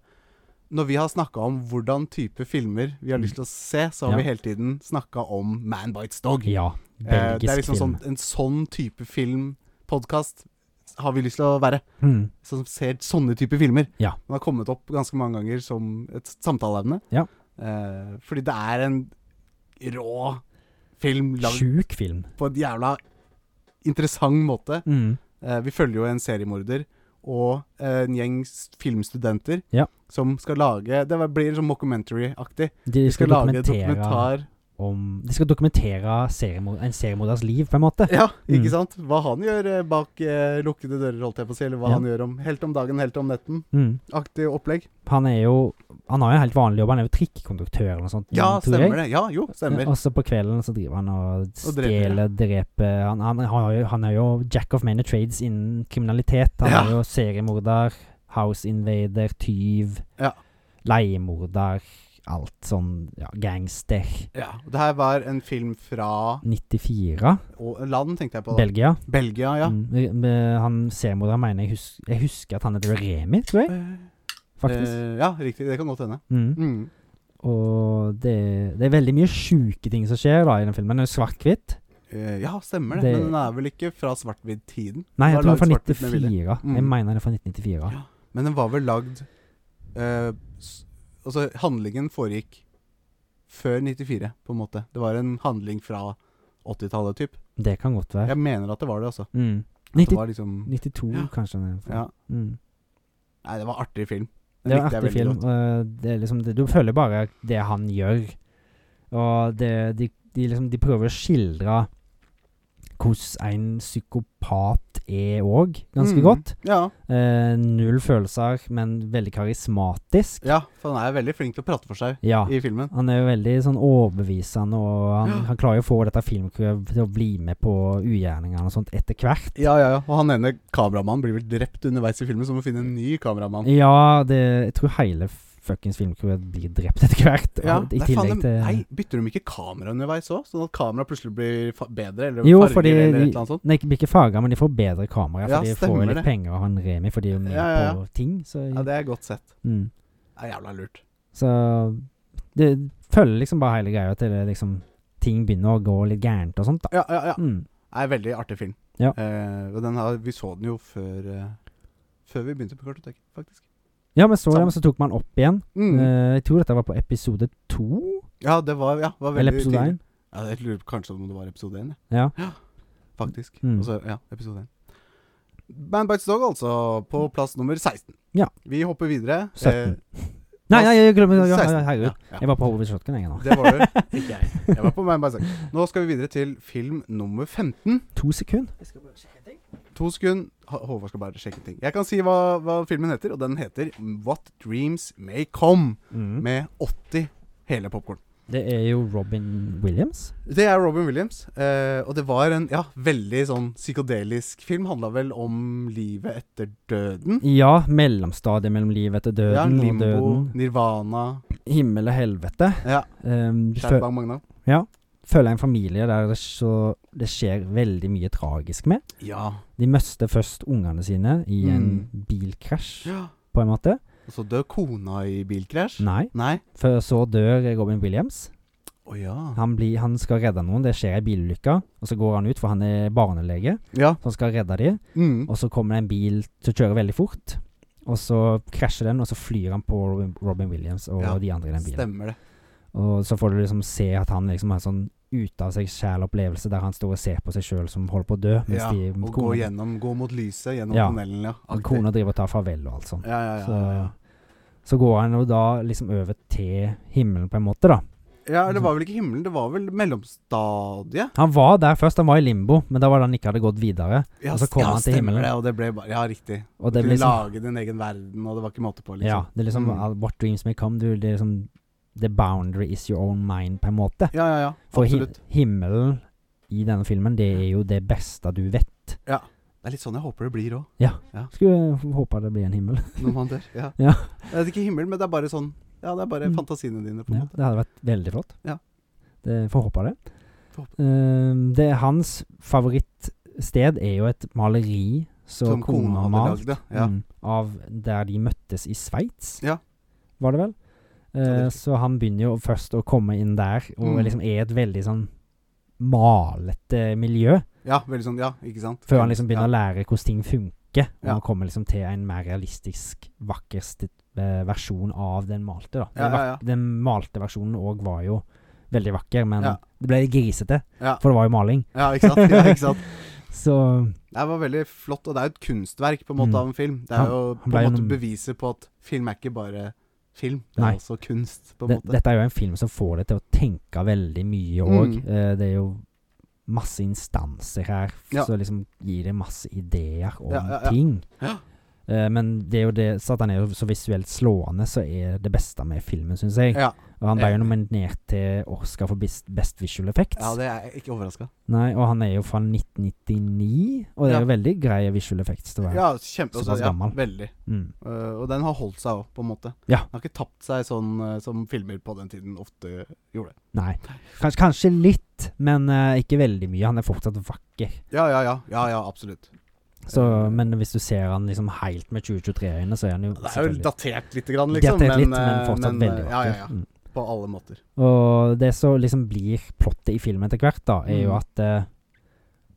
S1: Når vi har snakka om hvordan type filmer vi har lyst til å se, så har
S2: Mm. Ja.
S1: vi hele tiden snakka om Man Bites Dog.
S2: Ja.
S1: Eh, det
S2: Belgisk
S1: er liksom sånn,
S2: film.
S1: en sånn type filmpodkast har vi lyst til å være.
S2: Mm.
S1: Som ser sånne type filmer.
S2: Ja.
S1: Den har kommet opp ganske mange ganger som et samtaleevne.
S2: Ja.
S1: Eh, fordi det er en rå film lagd
S2: Sjuk film.
S1: på en jævla interessant måte.
S2: Mm.
S1: Eh, vi følger jo en seriemorder og eh, en gjeng s- filmstudenter
S2: Ja. som
S1: som skal lage Det var- blir sånn mockumentary-aktig.
S2: De
S1: De
S2: skal,
S1: skal lage
S2: dokumentere
S1: dokumentar
S2: om De skal dokumentere seriemord, en seriemorders liv, på en måte.
S1: Ja, ikke
S2: Mm.
S1: sant? Hva han gjør eh, bak eh, lukkede dører, holdt jeg på å si. Eller hva
S2: Ja.
S1: han gjør om helt om dagen, helt om netten.
S2: Mm.
S1: Aktig opplegg.
S2: Han er jo Han har jo en helt vanlig jobb, han er jo trikkekonduktør eller noe sånt.
S1: Ja,
S2: tror jeg.
S1: stemmer det. Ja, jo, stemmer.
S2: Og så på kvelden så driver han og
S1: ja.
S2: stjeler, dreper han, han, har jo, han er jo jack of many trades innen kriminalitet. Han
S1: Ja.
S2: er jo seriemorder, house invader, tyv,
S1: Ja.
S2: leiemorder, alt sånn ja, gangster.
S1: Ja, og Det her var en film fra
S2: 94,
S1: og, land, tenkte jeg på. da.
S2: Belgia.
S1: Belgia, ja.
S2: Mm, eh, han seriemorderen mener jeg husker, jeg husker at han heter Remi, tror jeg, Mm. faktisk.
S1: Eh, ja, riktig. Det kan godt hende.
S2: Mm.
S1: Mm.
S2: Og det, det er veldig mye sjuke ting som skjer da i den filmen. Den er svart-hvitt.
S1: Eh, ja, stemmer det.
S2: Det-
S1: Men den er vel ikke fra svart-hvitt-tiden?
S2: Nei, jeg
S1: Den var
S2: tror den er
S1: laget
S2: fra
S1: svart-hvitt med vilje.
S2: 94. Jeg
S1: Mm.
S2: mener den er fra 1994.
S1: Ja. Men den var vel lagd eh, s- Altså, handlingen foregikk før 94, på en måte. Det var en handling fra 80-tallet, typ.
S2: Det kan godt være.
S1: Jeg mener at det var det, altså.
S2: Mm.
S1: At
S2: 90,
S1: det var liksom
S2: 92,
S1: Ja.
S2: kanskje. Den er fra.
S1: Ja.
S2: Mm.
S1: Nei, det var artig film. Den
S2: Det er en
S1: likte jeg
S2: artig
S1: veldig
S2: film.
S1: godt.
S2: og Det er liksom, det, du føler bare det han gjør. Og det, de, de, liksom, de prøver å skildre hvordan en psykopat er òg, ganske
S1: Mm.
S2: godt.
S1: Ja.
S2: Eh, null følelser, men veldig karismatisk.
S1: ja, for han er veldig flink til å prate for seg
S2: Ja.
S1: i filmen.
S2: Han er jo veldig sånn overbevisende, og han, han klarer jo å få dette filmcrewet til å bli med på ugjerningene og sånt etter hvert.
S1: Ja, ja, ja. Og han ene kameramannen blir vel drept underveis i filmen, så må finne en ny kameramann.
S2: Ja, det, jeg tror hele fuckings filmcrewet blir drept etter hvert.
S1: Ja,
S2: I
S1: nei, faen,
S2: tillegg
S1: dem-
S2: til
S1: Nei, bytter de ikke kamera underveis òg? Sånn at kameraet plutselig blir fa bedre, eller
S2: Jo,
S1: farger,
S2: fordi
S1: eller et
S2: de-
S1: eller annet sånt?
S2: Nei, ikke blir ikke farga, men de får bedre kamera. For
S1: Ja,
S2: de får
S1: stemmer
S2: jo litt
S1: det.
S2: penger av han Remi, for de er jo med
S1: Ja, ja, ja.
S2: på ting. Så,
S1: Ja, det er godt sett.
S2: mm.
S1: Det er jævla lurt.
S2: så det, følger liksom bare hele greia til det liksom ting begynner å gå litt gærent og sånt, da.
S1: Ja, ja, ja.
S2: Mm.
S1: Nei, veldig artig film.
S2: Ja.
S1: Eh, og den har, vi så den jo før eh, Før vi begynte på kartoteket, faktisk.
S2: Ja, men så,
S1: Samme.
S2: ja, men så tok man opp igjen.
S1: Mm.
S2: Eh, jeg tror dette var på episode to,
S1: ja, det var, ja, var veldig
S2: eller episode
S1: tidlig.
S2: én.
S1: Ja, jeg lurer på kanskje om det var episode 1,
S2: Ja.
S1: faktisk.
S2: Mm.
S1: Og så, ja, episode 1. Man Bites Dog, altså, på plass nummer 16.
S2: Ja.
S1: Vi hopper videre.
S2: 17.
S1: Eh,
S2: Nei, nei, jeg glemmer ja,
S1: 16.
S2: Herregud.
S1: Ja, ja.
S2: Jeg var på Holy Shotgun, jeg nå.
S1: Det var du. Ikke jeg. Jeg var på Man Bites Dog. Nå skal vi videre til film nummer 15.
S2: To sekunder.
S1: To sekunder. H- Håvard skal bare sjekke ting. Jeg kan si hva, hva filmen heter, og den heter What Dreams May Come.
S2: Mm.
S1: Med 80 hele popkorn.
S2: Det er jo Robin Williams.
S1: Det er Robin Williams, eh, og det var en ja, veldig sånn psykodelisk film. Handla vel om livet etter døden.
S2: Ja, mellomstadiet mellom livet etter
S1: ja,
S2: døden og
S1: limbo,
S2: døden.
S1: nirvana
S2: Himmel og helvete.
S1: Ja,
S2: Um, du
S1: Shad
S2: fø
S1: Bang Magna.
S2: føler en familie der det, så, det skjer veldig mye tragisk med.
S1: Ja.
S2: De mister først ungene sine i en
S1: Mm.
S2: bilkrasj, på en måte.
S1: Og så dør kona i bilkrasj.
S2: Nei.
S1: Nei.
S2: For så dør Robin Williams.
S1: Å ja.
S2: Han, blir, han skal redde noen. Det skjer ei bilulykke, og så går han ut, for han er barnelege,
S1: Ja.
S2: så han skal redde dem.
S1: Mm.
S2: Og så kommer det en bil som kjører veldig fort. Og så krasjer den, og så flyr han på Robin, Robin Williams og
S1: Ja,
S2: de andre i den bilen.
S1: Stemmer det.
S2: Og så får du liksom se at han liksom har en sånn ute av seg sjæl-opplevelse der han står og ser på seg sjøl som holder på å dø. Mens
S1: Ja,
S2: de,
S1: Å gå
S2: kona,
S1: gjennom, gå mot lyset gjennom
S2: Ja.
S1: tunnelen, ja.
S2: og
S1: Aktig.
S2: kona driver og tar farvel og alt sånt.
S1: Ja, ja, ja.
S2: så,
S1: ja, ja.
S2: så går han jo da liksom over til himmelen, på en måte, da.
S1: Ja, det var vel ikke himmelen, det var vel mellomstadiet.
S2: Han var der først, han var i limbo, men da var det han ikke hadde gått videre.
S1: Ja,
S2: Og så kom
S1: ja,
S2: han til
S1: stemmer
S2: himmelen.
S1: Det, og det ble bare, ja, riktig.
S2: Og
S1: Du
S2: det
S1: kunne
S2: blir liksom
S1: lage din egen verden, og det var ikke måte på, liksom.
S2: Ja, det er liksom
S1: Mm.
S2: all- What dreams may come. Du, det er liksom The boundary is your own mind, på en måte.
S1: ja, ja. ja
S2: For hi
S1: absolutt.
S2: himmelen i denne filmen, det er jo det beste du vet.
S1: Det er litt sånn jeg håper det blir òg,
S2: Skulle håpe det blir en himmel.
S1: når man dør. Ja.
S2: Ja.
S1: Det er ikke himmel, men det er bare sånn Ja, det er bare
S2: Mm.
S1: fantasiene dine, på en
S2: Ja,
S1: måte.
S2: det hadde vært veldig flott.
S1: Ja.
S2: Det, får håpe det.
S1: Får håpe.
S2: Ehm, det er hans favorittsted er jo et maleri så
S1: Som kona hadde
S2: malt,
S1: lagd det. Ja.
S2: mm, av der de møttes i Sveits,
S1: Ja.
S2: var det vel?
S1: det er
S2: Eh,
S1: riktig.
S2: så han begynner jo først å komme inn der, og
S1: Mm.
S2: liksom er et veldig sånn malete miljø,
S1: ja, veldig sånn. Ja, ikke sant?
S2: før han liksom
S1: ja.
S2: begynner å lære hvordan ting funker, og
S1: Ja.
S2: han kommer liksom til en mer realistisk, vakker sti- eh, versjon av den malte, da.
S1: Ja,
S2: Den
S1: ja, ja.
S2: den malte versjonen òg var jo veldig vakker, men
S1: Ja.
S2: det ble litt grisete,
S1: Ja.
S2: for det var jo maling.
S1: ja, ikke sant? Ja, ikke sant?
S2: Så
S1: Det var veldig flott, og det er jo et kunstverk på en måte
S2: Mm.
S1: av en film. Det
S2: Han-
S1: er jo
S2: han
S1: på
S2: ble
S1: en måte
S2: noen-
S1: beviset på at film er ikke bare film, det
S2: Nei.
S1: er også kunst, på en
S2: det,
S1: måte.
S2: dette er jo en film som får deg til å tenke veldig mye òg.
S1: Mm.
S2: Eh, det er jo masse instanser her f-
S1: Ja.
S2: som liksom gir deg masse ideer om
S1: Ja, ja, ja.
S2: ting.
S1: Ja.
S2: Eh, men det er jo det så at han er jo så visuelt slående, så er det beste med filmen, syns jeg.
S1: Ja.
S2: Og han ble
S1: enig.
S2: jo nominert til Oscar for Best, best Visual Effects.
S1: ja, det er jeg ikke overraska.
S2: Nei, og han er jo fra 1999, og det
S1: Ja.
S2: er jo veldig greie visual effects til å være.
S1: Ja, kjempe,
S2: Såpass
S1: også, ja,
S2: gammel.
S1: veldig.
S2: Mm.
S1: Eh, og den har holdt seg òg, på en måte.
S2: Ja.
S1: Den har ikke tapt seg sånn eh, som filmer på den tiden ofte gjorde.
S2: Nei. Kanskje, kanskje litt, men eh, ikke veldig mye. Han er fortsatt vakker.
S1: Ja, ja, ja. ja, ja absolutt.
S2: Så,
S1: Eh.
S2: men hvis du ser han liksom helt med 2023-øyne, så er han jo
S1: Det er jo
S2: selvfølgelig
S1: datert lite grann, liksom.
S2: Datert litt, men
S1: eh,
S2: fortsatt
S1: men, eh,
S2: veldig vakker.
S1: Ja, ja, ja.
S2: Mm.
S1: På alle måter.
S2: Og det som liksom blir plottet i filmen etter hvert, da, er jo
S1: Mm.
S2: at eh,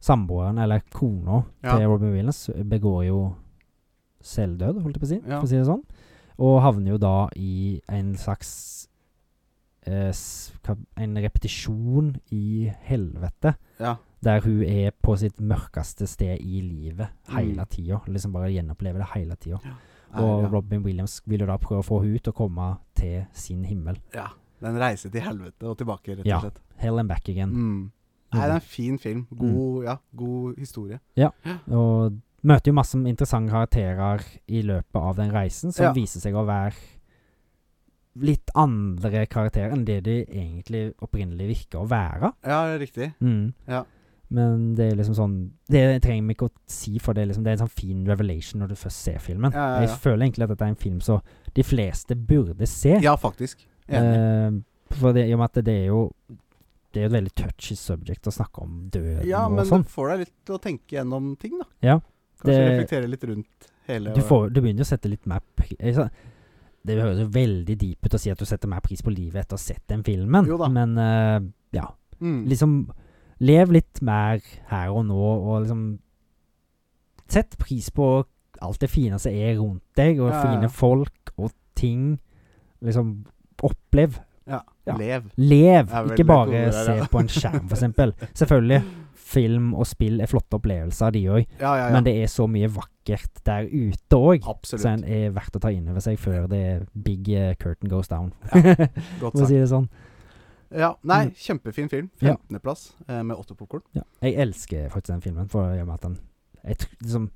S2: samboeren, eller kona
S1: Ja.
S2: til Robin Williams, begår jo selvdød, holdt jeg på å si,
S1: Ja.
S2: for å si det sånn. Og havner jo da i en slags eh, s- hva- En repetisjon i helvete.
S1: Ja.
S2: Der hun er på sitt mørkeste sted i livet hele
S1: Mm.
S2: tida. Liksom bare gjenopplever det hele tida.
S1: Er-
S2: Og
S1: ja.
S2: Robin Williams vil jo da prøve å få hun ut og komme til sin himmel.
S1: ja. Den reiser til helvete og tilbake, rett
S2: Ja.
S1: og slett.
S2: Hell and back again.
S1: Mm. Nei, det er en fin film. God, ja, god historie.
S2: Mm. Og møter jo masse interessante karakterer i løpet av den reisen, som
S1: Ja.
S2: viser seg å være litt andre karakterer enn det de egentlig opprinnelig virker å være.
S1: Ja, det er riktig.
S2: Mm.
S1: Ja.
S2: Men det er liksom sånn Det trenger vi ikke å si, for det er, liksom, det er en sånn fin revelation når du først ser filmen.
S1: Ja, ja, ja.
S2: Jeg føler egentlig at dette er en film som de fleste burde se.
S1: Ja, faktisk. Enig.
S2: Eh, for det, i og med at det er jo Det er jo et veldig touchy subject å snakke om døden
S1: ja,
S2: og
S1: men
S2: sånn.
S1: det får deg litt til å tenke gjennom ting, da.
S2: Ja,
S1: Kanskje
S2: det-
S1: reflektere litt rundt hele
S2: Du, får, du begynner jo å sette litt mer pri- eh, sånn- Det høres jo veldig deep ut å si at du setter mer pris på livet etter å ha sett den filmen,
S1: Jo da.
S2: men eh, ja.
S1: Mm.
S2: Liksom lev litt mer her og nå, og liksom Sett pris på alt det fine som er rundt deg, og
S1: Ja, ja, ja.
S2: fine folk og ting. Liksom, opplev.
S1: Ja.
S2: Ja.
S1: Lev.
S2: Lev,
S1: Det er
S2: ikke
S1: veldig
S2: bare
S1: gode der,
S2: se
S1: ja.
S2: på en skjerm, f.eks. Selvfølgelig, film og spill er flotte opplevelser, de òg,
S1: Ja, ja, ja.
S2: men det er så mye vakkert der ute òg. Så en
S1: Absolutt.
S2: er verdt å ta inn over seg før det big eh, curtain goes down,
S1: Godt
S2: for å
S1: sagt.
S2: si det sånn.
S1: Ja, nei,
S2: Mm.
S1: kjempefin film.
S2: Ja.
S1: 15.-plass med åtte popkorn.
S2: Ja. Jeg elsker faktisk den filmen, for i og med at han jeg, tr- liksom,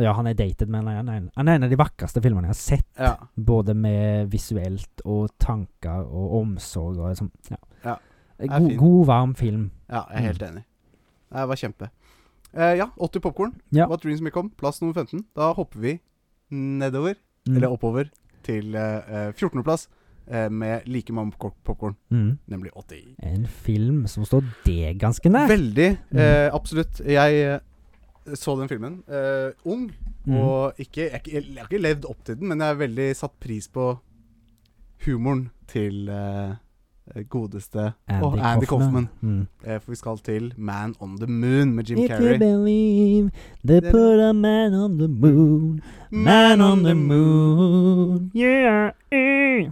S2: Ja, han er dated, men han er, en- han er en av de vakreste filmene jeg har sett.
S1: Ja.
S2: Både med visuelt og tanker og omsorg og liksom Ja.
S1: Ja,
S2: Eh,
S1: er
S2: God,
S1: fin.
S2: god, varm film.
S1: Ja, jeg er
S2: Mm.
S1: helt enig. Det var kjempe. Eh, ja, 80 popkorn.
S2: Ja.
S1: What Dreams May Come, plass nummer 15. Da hopper vi nedover,
S2: Mm.
S1: eller oppover, til eh, eh, 14.-plass eh, med like mange popkorn,
S2: Mm.
S1: nemlig 80.
S2: En film som står det ganske nær.
S1: Veldig.
S2: Mm.
S1: eh, absolutt. Jeg eh, så den filmen eh, ung,
S2: Mm.
S1: og ikke jeg, jeg, jeg har ikke levd opp til den, men jeg har veldig satt pris på humoren til eh, godeste Åh, Andy Kaufman.
S2: Mm.
S1: Eh, For vi skal til Man on the Moon med Jim
S2: If you
S1: Carrey.
S2: believe they put a man on the moon, man on the moon, yeah. eh.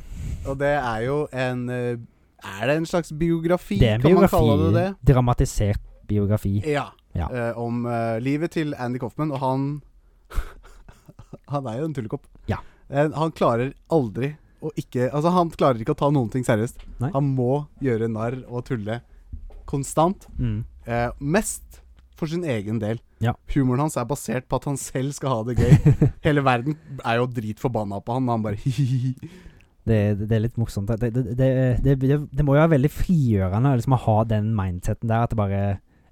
S1: Og det er jo en eh, Er det en slags biografi?
S2: Det er en
S1: kan man kalle det
S2: biografi.
S1: det?
S2: Dramatisert biografi.
S1: Ja.
S2: Ja.
S1: Eh, om eh, livet til Andy Coffman, og han Han er jo en tullekopp.
S2: Ja.
S1: Eh, han klarer aldri å ikke Altså, han klarer ikke å ta noen ting seriøst.
S2: Nei.
S1: Han må gjøre narr og tulle konstant.
S2: Mm.
S1: Eh, mest for sin egen del.
S2: Ja.
S1: Humoren hans er basert på at han selv skal ha det gøy. Hele verden er jo dritforbanna på han, og han bare hihihi.
S2: Det, det, det er litt morsomt. Det, det, det, det, det, det må jo være veldig frigjørende liksom, å ha den mindseten der at det bare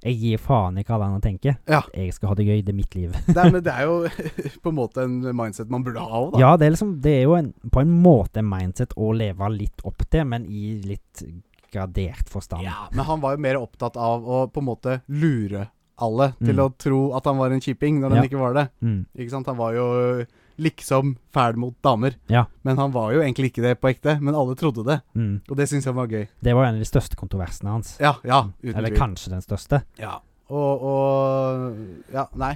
S2: Jeg gir faen i hva alle andre tenker.
S1: Ja.
S2: Jeg skal ha det gøy. Det er mitt liv.
S1: Det, er- men det er jo på en måte en mindset man burde ha òg, da.
S2: Ja, det er liksom Det er jo en, på en måte en mindset å leve litt opp til, men i litt gradert forstand.
S1: Ja, Men han var jo mer opptatt av å på en måte lure alle til
S2: Mm.
S1: å tro at han var en kjiping når han
S2: Ja.
S1: ikke var det.
S2: Mm.
S1: Ikke sant? Han var jo liksom fæl mot damer.
S2: Ja.
S1: Men han var jo egentlig ikke det på ekte. Men alle trodde det,
S2: Mm.
S1: og det syns jeg var gøy.
S2: Det var en av de største kontroversene hans.
S1: Ja, ja, uten
S2: Mm. Eller
S1: tvil.
S2: kanskje den største.
S1: Ja. Og, og Ja, nei.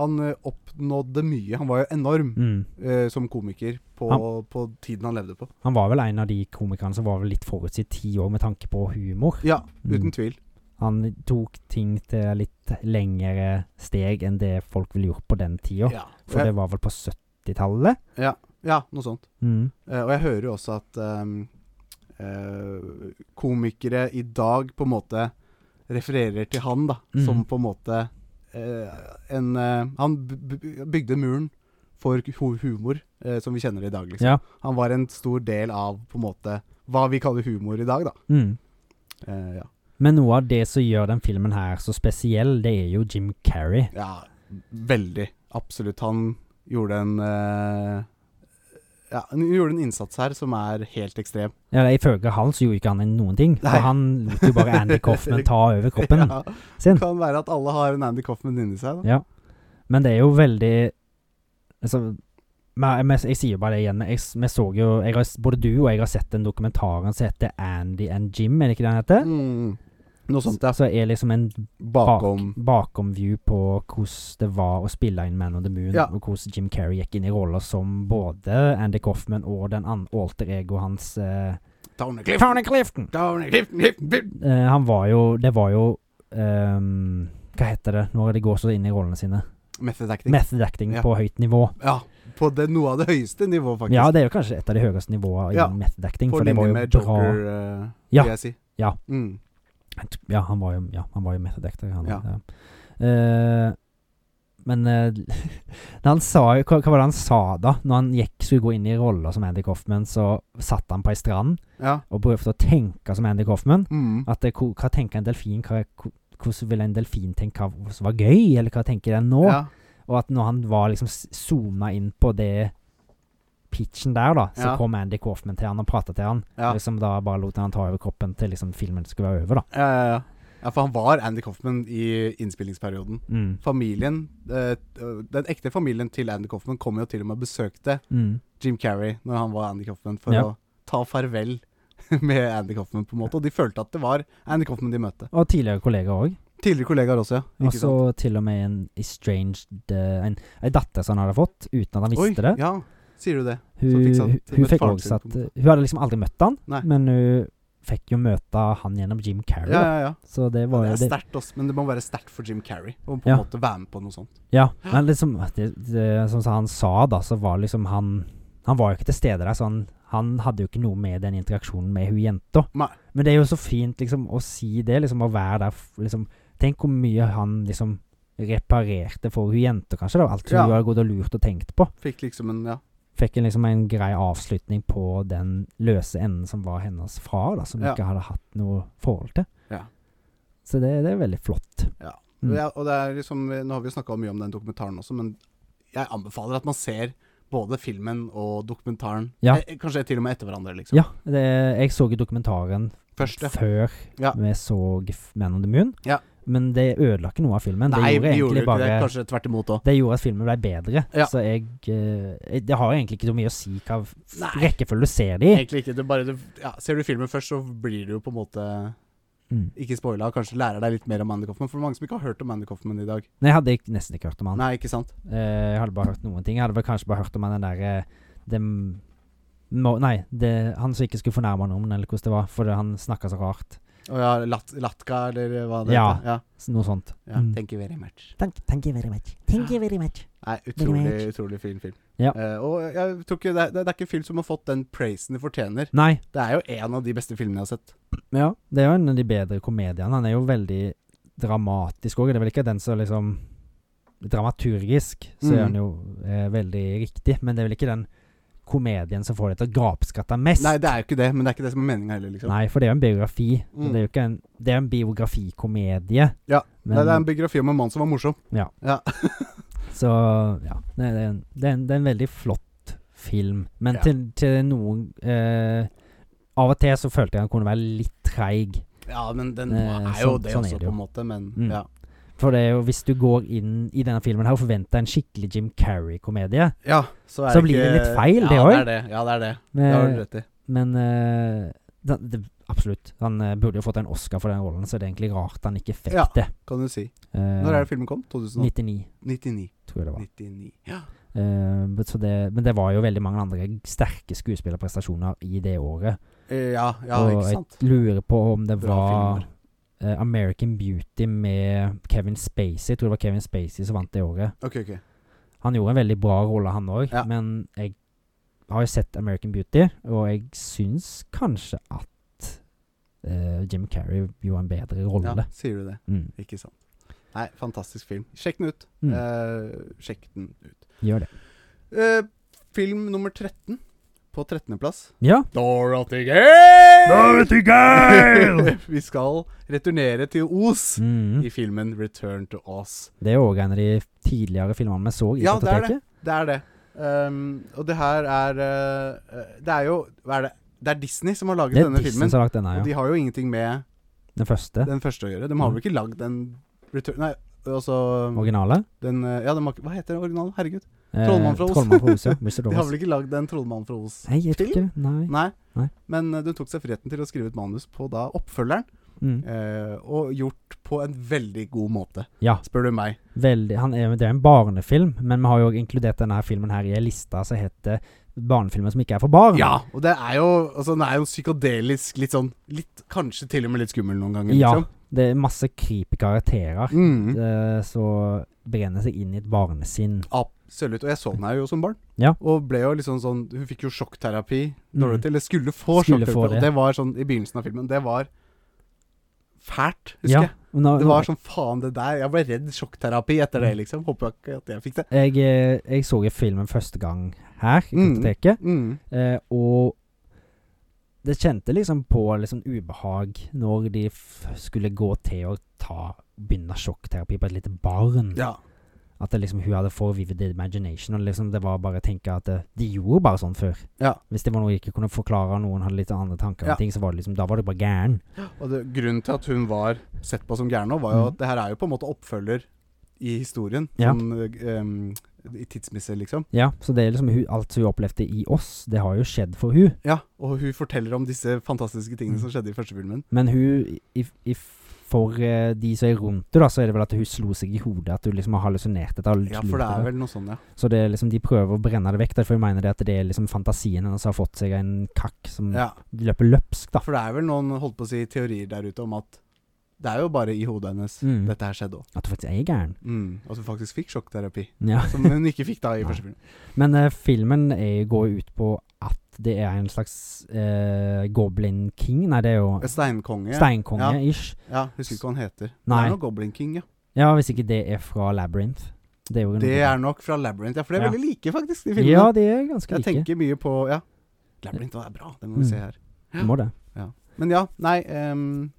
S1: Han ø, oppnådde mye. Han var jo enorm
S2: Mm.
S1: ø, som komiker på,
S2: Han-
S1: på tiden han levde på.
S2: Han var vel en av de komikerne som var vel litt forut sin tid òg, med tanke på humor.
S1: Ja,
S2: Mm.
S1: uten tvil.
S2: Han tok ting til litt lengre steg enn det folk ville gjort på den tida.
S1: Ja.
S2: For
S1: Og
S2: det var vel på 70-tallet?
S1: jeg- ja, noe sånt.
S2: Mm.
S1: Eh, og jeg hører jo også at ehm, eh, komikere i dag på en måte refererer til han, da,
S2: Mm.
S1: som på en måte eh, en eh, Han b- b- bygde muren for hu- humor eh, som vi kjenner det i dag, liksom.
S2: Ja.
S1: Han var en stor del av på en måte hva vi kaller humor i dag, da.
S2: Mm.
S1: Eh, ja.
S2: Men noe av det som gjør den filmen her så spesiell, det er jo Jim Carrey.
S1: ja, veldig. Absolutt. Han gjorde en eh, Ja, han gjorde en innsats her som er helt ekstrem.
S2: Eller Ifølge han så gjorde ikke han noen ting.
S1: Nei.
S2: For han lot jo bare Andy Coffman ta over kroppen
S1: Ja,
S2: sin.
S1: kan være at alle har en Andy Coffman inni seg, da.
S2: Ja. Men det er jo veldig altså, men jeg, men jeg sier jo bare det igjen, men jeg, s- vi så jo jeg har, s- Både du og jeg har sett den dokumentaren som heter Andy and Jim, er det ikke den heter?
S1: Mm, noe sånt, ja.
S2: Så er liksom en
S1: Bakom
S2: bakomview på hvordan det var å spille inn Man on the Moon,
S1: Ja.
S2: og hvordan Jim Carrey gikk inn i roller som både Andy Coffman og den an- alter ego hans eh,
S1: Tony Clifton,
S2: Tony Clifton!
S1: Tony Clifton, Clifton, Clifton.
S2: Eh, han var jo Det var jo ehm, Hva heter det når de går så inn i rollene sine?
S1: Method acting.
S2: Method acting
S1: Ja.
S2: på høyt nivå.
S1: ja, på det, noe av det høyeste nivået, faktisk.
S2: Ja, det er jo kanskje et av de høyeste nivåene
S1: Ja.
S2: innen method acting,
S1: på
S2: for det var
S1: linje
S2: jo
S1: med
S2: bra
S1: Joker, eh,
S2: Ja,
S1: vil jeg si.
S2: ja.
S1: Mm.
S2: Ja, han var jo, ja, han var jo method actor, han.
S1: Ja.
S2: Ja. Eh, men eh, han sa, jo- hva, hva var det han sa da? Når han gikk, skulle gå inn i roller som Andy Coffman, så satt han på ei strand
S1: ja.
S2: og prøvde å tenke som Andy Coffman.
S1: Mm.
S2: At det, ko- hva tenker en delfin? Hva, ko- hvordan vil en delfin tenke hva som var gøy, eller hva tenker den nå?
S1: Ja.
S2: Og at når han var liksom zooma inn på det pitchen der, da, så
S1: Ja.
S2: kom Andy Coffman til han og prata til han.
S1: Ja.
S2: Liksom da bare lot han ta over kroppen til liksom filmen skulle være over, da.
S1: Ja, ja, ja. Ja, for han var Andy Coffman i innspillingsperioden.
S2: Mm.
S1: Familien, eh, Den ekte familien til Andy Coffman kom jo til og med og besøkte
S2: Mm.
S1: Jim Carrey når han var Andy Coffman, for
S2: Ja.
S1: å ta farvel med Andy Coffman, på en måte. Og de følte at det var Andy Coffman de møtte.
S2: Og tidligere kollegaer òg.
S1: Tidligere kollegaer også, ja.
S2: Og
S1: Ikke sant?
S2: så til og med en estranged eh, En, en datter som han hadde fått, uten at han visste det.
S1: ja. Sier du det?
S2: Hun,
S1: så fikk sant
S2: hun,
S1: med
S2: hun fikk
S1: faren
S2: også
S1: sin,
S2: at
S1: på en måte.
S2: Hun hadde liksom aldri møtt han,
S1: Nei.
S2: men hun fikk jo møte han gjennom Jim Carrey.
S1: Ja,
S2: da.
S1: ja, ja.
S2: Så det var
S1: Det
S2: jo
S1: er
S2: det,
S1: sterkt også, men det må være sterkt for Jim Carrey å på en
S2: Ja.
S1: måte være med på noe sånt.
S2: Ja, men liksom det, det, Som han sa, da, så var liksom han Han var jo ikke til stede der, så han, han hadde jo ikke noe med den interaksjonen med hun jenta.
S1: Nei.
S2: Men det er jo så fint liksom å si det, liksom å være der f- liksom, Tenk hvor mye han liksom reparerte for hun jenta, kanskje. da Alt hun
S1: Ja.
S2: hadde gått og lurt og tenkt på.
S1: Fikk liksom en ja.
S2: Fikk en liksom en grei avslutning på den løse enden som var hennes far, da som hun
S1: Ja.
S2: ikke hadde hatt noe forhold til.
S1: Ja.
S2: Så det, det er veldig flott. Mm.
S1: Ja, Og det er liksom Nå har vi jo snakka mye om den dokumentaren også, men jeg anbefaler at man ser både filmen og dokumentaren.
S2: Ja.
S1: Eh, kanskje til og med etter hverandre, liksom.
S2: Ja, det, jeg så jo dokumentaren
S1: Først, ja.
S2: før
S1: Ja.
S2: vi så F- Man on the Moon.
S1: Ja.
S2: Men det ødela ikke noe av filmen.
S1: Nei,
S2: det gjorde
S1: vi gjorde
S2: egentlig
S1: jo ikke
S2: bare
S1: det.
S2: det,
S1: Kanskje tvert imot òg.
S2: gjorde at filmen ble bedre.
S1: Ja.
S2: Så jeg eh, jeg- Det har egentlig ikke så mye å si hva f-
S1: Nei.
S2: rekkefølge du ser det i.
S1: Egentlig ikke. Du bare, du, ja, ser du filmen først, så blir du jo på en måte
S2: Mm.
S1: ikke spoila, og kanskje lærer deg litt mer om Andy Coffman. For det er mange som ikke har hørt om Andy Coffman i dag.
S2: Nei, jeg hadde ikke- nesten ikke hørt om han.
S1: Nei, ikke sant?
S2: Eh, jeg hadde bare hørt noen ting. Jeg hadde vel kanskje bare hørt om han den derre eh, dem- må, Nei, det, han som ikke skulle fornærme noen, eller hvordan det var, fordi han snakka så rart.
S1: Og ja, lat, Latka, eller hva det
S2: Ja.
S1: heter. Ja.
S2: Så Noe sånt.
S1: ja.
S2: Mm.
S1: Thank you very much.
S2: Thank, thank you very much. Thank you very much.
S1: Nei,
S2: Very
S1: utrolig,
S2: much.
S1: utrolig fin film.
S2: Ja.
S1: Eh, og jeg tror ikke det, er- det, er ikke en film som har fått den praisen de fortjener.
S2: Nei,
S1: Det er jo en av de beste filmene jeg har sett.
S2: Ja, det er jo en av de bedre komediene. Han er jo veldig dramatisk òg. Det er vel ikke den som liksom Dramaturgisk så er
S1: Mm.
S2: han jo eh, veldig riktig, men det er vel ikke den komedien som får deg til å gapskatte mest.
S1: Nei, det er jo ikke det, men det er ikke det som er meninga heller, liksom. Nei.
S2: Nei, for det er jo en biografi. og
S1: Mm.
S2: Det er jo ikke en Det er en biografikomedie.
S1: Ja,
S2: men,
S1: det er en biografi om en mann som var morsom.
S2: Så ja. Nei, det er, en, det, er en, det er en veldig flott film. Men
S1: Ja.
S2: til, til noen eh, Av og til så følte jeg han kunne være litt treig.
S1: Ja, men den
S2: Eh,
S1: er jo
S2: sånn-
S1: det
S2: sånn er
S1: også,
S2: det jo.
S1: på en måte. Men
S2: Mm.
S1: ja.
S2: For det er jo, hvis du går inn i denne filmen her og forventer en skikkelig Jim Carrey-komedie
S1: ja så, er
S2: Så blir det litt feil, det
S1: ja,
S2: også.
S1: det er det. Ja, det er det. Det har du
S2: Men,
S1: rett i.
S2: men eh, da- det, absolutt. Han eh, burde jo fått en Oscar for den rollen, så det er egentlig rart han ikke fikk
S1: Ja.
S2: det.
S1: Kan du si.
S2: Eh,
S1: Når er det filmen kom? 2099.
S2: 99,
S1: 99.
S2: tror jeg det var.
S1: Ja.
S2: Eh, but- så det, men det var jo veldig mange andre sterke skuespillerprestasjoner i det året.
S1: Eh, ja, ja,
S2: og
S1: ikke sant?
S2: jeg lurer på om det
S1: Bra
S2: var
S1: filmer.
S2: eh, American Beauty med Kevin Spacey. Jeg tror det var Kevin Spacey som vant det året.
S1: Ok, ok.
S2: Han gjorde en veldig bra rolle, han òg,
S1: Ja.
S2: men jeg har jo sett American Beauty, og jeg syns kanskje at eh, Jim Carrey gjorde en bedre
S1: Ja,
S2: rolle.
S1: sier du det.
S2: Mm,
S1: Ikke sant. Nei, fantastisk film. Sjekk den ut.
S2: Mm.
S1: Eh, sjekk den ut.
S2: gjør det.
S1: Eh, film nummer 13 på 13.-plass.
S2: Ja.
S1: Dorothy Gale!
S2: Dorothy Gale!
S1: Vi skal returnere til Os
S2: Mm,
S1: i filmen 'Return to Oz'.
S2: det er òg en av de tidligere filmene vi så i
S1: Ja, det er
S2: kartoteket.
S1: Det er det. Um, og det her er eh, eh, Det er jo Hva er det? Det er Disney som har laget
S2: Det er
S1: denne
S2: Disney
S1: filmen.
S2: som har lagt denne,
S1: Og
S2: ja.
S1: de har jo ingenting med
S2: Den første.
S1: den første å gjøre. De har vel
S2: Mm.
S1: ikke lagd den return... Nei, altså
S2: Originale.
S1: den, eh, Ja, den har ikke- hva heter den originalen? Herregud.
S2: Eh,
S1: Trollmann fra Oz.
S2: Trollmann fra Oz, ja. Wizard
S1: De har
S2: of Oz.
S1: vel ikke lagd den 'Trollmannen fra Os'?
S2: Nei, jeg tror ikke Nei.
S1: Nei.
S2: Nei.
S1: Men eh, de tok seg friheten til å skrive et manus på da oppfølgeren.
S2: Mm.
S1: eh, og gjort på en veldig god måte,
S2: Ja.
S1: spør du meg.
S2: Veldig, han er, det er en barnefilm, men vi har jo inkludert denne her filmen her i ei liste som heter 'Barnefilmer som ikke er for barn'.
S1: Ja, og det er jo altså, den er jo psykadelisk, litt sånn litt, Kanskje til og med litt skummel noen ganger,
S2: Ja.
S1: liksom.
S2: Det er masse creepy karakterer
S1: Mm.
S2: eh, som brenner seg inn i et barnesinn.
S1: Absolutt. Og jeg så den her jo som barn,
S2: Ja.
S1: og ble jo liksom sånn Hun fikk jo sjokkterapi,
S2: Mm.
S1: Dorothy, eller skulle få
S2: Skulle
S1: sjokkterapi.
S2: få
S1: Og
S2: det.
S1: det var sånn i begynnelsen av filmen. Det var fælt, husker
S2: Ja,
S1: jeg.
S2: og nå,
S1: Det var sånn faen, det der. Jeg ble redd sjokkterapi etter det, liksom. Håper jeg ikke at jeg fikk det.
S2: jeg, eh, jeg så jo filmen første gang her, i
S1: Mm.
S2: kartoteket,
S1: Mm.
S2: eh, og det kjente liksom på liksom ubehag når de f skulle gå til å ta begynne sjokkterapi på et lite barn.
S1: Ja.
S2: At det liksom, hun hadde for vivid imagination. Og liksom det var bare å tenke at eh, de gjorde bare sånn før.
S1: Ja.
S2: Hvis det var noe jeg ikke kunne forklare, og noen hadde litt andre tanker, om
S1: Ja.
S2: ting, så var det liksom, da var du bare gæren.
S1: Og det, grunnen til at hun var sett på som gæren nå, var jo
S2: Mhm.
S1: at det her er jo på en måte oppfølger i historien.
S2: Ja.
S1: Sånn, eh, em, I tidsmisse, liksom.
S2: Ja, så det er liksom hun, alt hun opplevde i oss, det har jo skjedd for hun.
S1: Ja, og hun forteller om disse fantastiske tingene som skjedde i første filmen.
S2: Men hun, i, i, for eh, de som er rundt henne, da, så er det vel at hun slo seg i hodet, at hun liksom har hallusinert dette.
S1: Ja, for det er vel noe sånn, ja.
S2: Så det er liksom, de prøver å brenne det vekk, da, for hun mener det at det er liksom fantasien hennes har fått seg en kakk som
S1: ja.
S2: løper løpsk, da.
S1: For det er vel noen holdt på å si teorier der ute om at det er jo bare i hodet hennes
S2: Mm.
S1: dette her skjedde òg.
S2: At hun faktisk er gæren.
S1: Mm. At hun faktisk fikk sjokkterapi.
S2: Ja.
S1: Som hun ikke fikk da i
S2: Nei.
S1: første film.
S2: Men eh, filmen er, går jo ut på at det er en slags eh, goblin king Nei, det er jo
S1: Steinkonge.
S2: steinkonge-ish.
S1: Ja, husker ikke hva han heter. Det
S2: Nei.
S1: er noe Goblin King, ja.
S2: Ja. hvis ikke det er fra Labyrinth. Det er jo
S1: Det er nok fra Labyrinth. Ja, for det er
S2: Ja.
S1: veldig like, faktisk, de
S2: Ja,
S1: filmene.
S2: de er ganske
S1: Jeg
S2: like.
S1: tenker mye på Ja. Labyrinth det er bra, det må vi
S2: Mm.
S1: se her.
S2: Du må det.
S1: Men ja, nei ehm,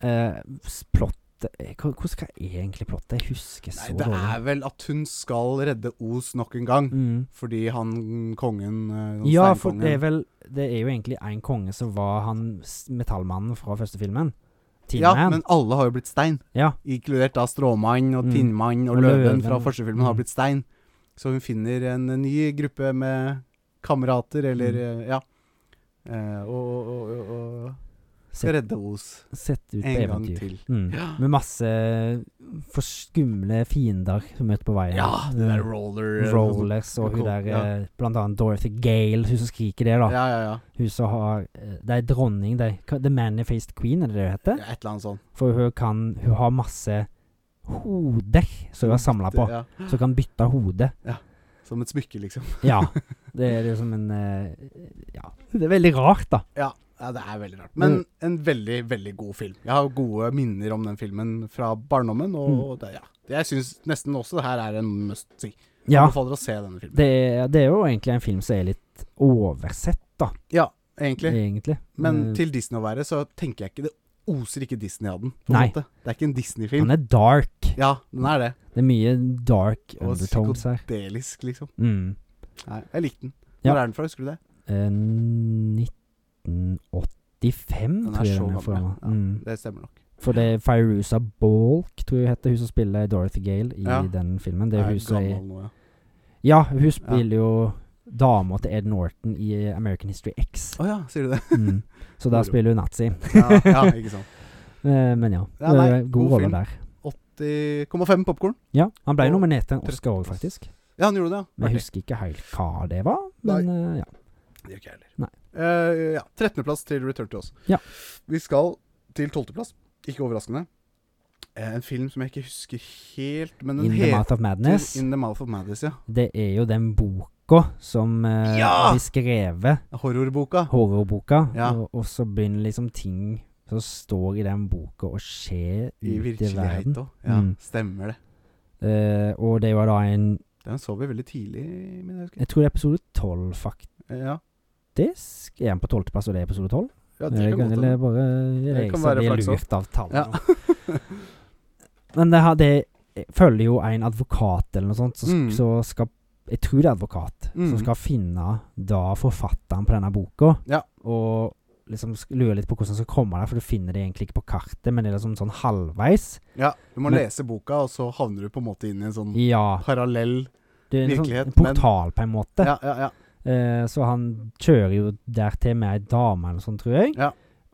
S2: Eh, s- plott eh, hva- Hvordan skal jeg egentlig plotte? Jeg husker
S1: Nei,
S2: så
S1: det
S2: dårlig.
S1: er vel at hun skal redde Os nok en gang.
S2: mm.
S1: Fordi han kongen eh, den
S2: Ja, for det er
S1: steinkongen-
S2: vel Det er jo egentlig én konge som var han s- metallmannen fra første filmen. Tin
S1: Ja,
S2: Man.
S1: men alle har jo blitt stein.
S2: ja,
S1: Inkludert da stråmann og
S2: Mm.
S1: tinnmann og,
S2: Og
S1: løven
S2: løven.
S1: fra første filmen har
S2: Mm.
S1: blitt stein. Så hun finner en ny gruppe med kamerater, eller
S2: Mm.
S1: eh, Ja. Eh, og, og, og, og skal
S2: sett,
S1: redde Os
S2: sett ut på
S1: en gang
S2: eventyr.
S1: til.
S2: Mm. Med masse forskumle fiender hun møter på veien.
S1: Ja, det der
S2: Eh,
S1: roller eh,
S2: Rollers og hun
S1: Cool,
S2: der
S1: ja.
S2: eh, Blant annet Dorothy Gale, hun som skriker det, da.
S1: Ja, ja, ja.
S2: Hun som har eh, Det er dronning, det. Hva- The Manifest Queen, er det det hun
S1: Ja,
S2: heter?
S1: Et eller annet sånt.
S2: For hun kan Hun har masse hoder som hun har samla på.
S1: Ja.
S2: Så hun kan bytte hode.
S1: Som et smykke, liksom.
S2: Ja. Det er liksom en eh, Ja. Det er veldig rart, da.
S1: Ja, det er veldig rart. Men
S2: Mm.
S1: en veldig, veldig god film. Jeg har gode minner om den filmen fra barndommen, og
S2: Mm.
S1: det, ja. Jeg syns nesten også det her er en must see. Jeg
S2: Ja.
S1: Anbefaler å se denne filmen.
S2: Det er, det er jo egentlig en film som er litt oversett, da.
S1: Ja, egentlig.
S2: Egentlig.
S1: Men
S2: Eh,
S1: til Disney å være, så tenker jeg ikke Det oser ikke Disney av den. På en
S2: Nei.
S1: måte. Det er ikke en Disney-film.
S2: Den er dark.
S1: Ja, den er det.
S2: Det er mye dark
S1: Og
S2: undertones her.
S1: Delisk, liksom.
S2: Mm.
S1: Nei, jeg likte den. Når
S2: Ja.
S1: er den fra, husker du det?
S2: Eh, 1985,
S1: Den er
S2: tror jeg
S1: så
S2: den er fra.
S1: gammel, ja.
S2: Mm.
S1: Det stemmer nok.
S2: For det er Firuza Balk, tror jeg hun heter, hun som spiller Dorothy Gale i
S1: Ja.
S2: den filmen. Det er
S1: Jeg
S2: hun som er
S1: gammel nå, ja.
S2: Ja, hun spiller jo dama til Ed Norton i eh, American History X.
S1: Å ja, sier du det?
S2: Mm. Så da
S1: Moro.
S2: spiller hun nazi.
S1: Ja, ja ikke sant.
S2: Eh, Men ja.
S1: Ja,
S2: det
S1: nei,
S2: er god
S1: god
S2: rolle
S1: film.
S2: der.
S1: 80,5 popkorn.
S2: Ja, han ble
S1: Og
S2: nominert til en Oscar
S1: trettenplass.
S2: òg, faktisk.
S1: Ja, han gjorde det, ja.
S2: Men
S1: Artig.
S2: jeg husker ikke helt hva det var. Men eh, ja.
S1: Det gjør ikke jeg heller.
S2: Nei.
S1: Eh, ja, 13.-plass til Return to Us.
S2: Ja.
S1: Vi skal til 12.-plass, ikke overraskende. Eh, en film som jeg ikke husker helt, men den
S2: In the
S1: heter
S2: Mouth of Madness.
S1: In the Mouth of Madness, ja.
S2: Det er jo den boka som eh,
S1: Ja!
S2: blir skrevet,
S1: Horrorboka.
S2: horrorboka,
S1: Ja.
S2: og, og så begynner liksom ting som står i den boka og skjer
S1: I
S2: ute i
S1: virkelighet
S2: verden.
S1: òg. Ja,
S2: Mm.
S1: stemmer det.
S2: Eh, og det var da en
S1: Den så vi veldig tidlig, min jeg husker.
S2: Jeg tror det er episode tolv, faktisk.
S1: Eh, Ja,
S2: Er den på tolvteplass, og det er episode tolv?
S1: ja det
S2: Jeg
S1: kan
S2: kan
S1: godt
S2: eller
S1: hende.
S2: bare
S1: kan
S2: jeg kan
S1: være
S2: være
S1: flaks også.
S2: lurt av
S1: Ja.
S2: tallene. Men det, her, det følger jo en advokat eller noe sånt, som
S1: Mm.
S2: sk- så skal Jeg tror det er advokat,
S1: Mm.
S2: som skal finne da forfatteren på denne boka.
S1: Ja.
S2: Og liksom sk- lure litt på hvordan han skal komme der, for du finner det egentlig ikke på kartet, men det er liksom sånn halvveis.
S1: ja, du må
S2: Men-
S1: lese boka, og så havner du på en måte inn i en sånn
S2: Ja.
S1: parallell
S2: Det er en
S1: Virkelighet,
S2: sånn
S1: men-
S2: portal, på en måte.
S1: Ja, ja, ja.
S2: Eh, så han kjører jo dertil med ei dame eller noe sånt, tror jeg.
S1: Ja.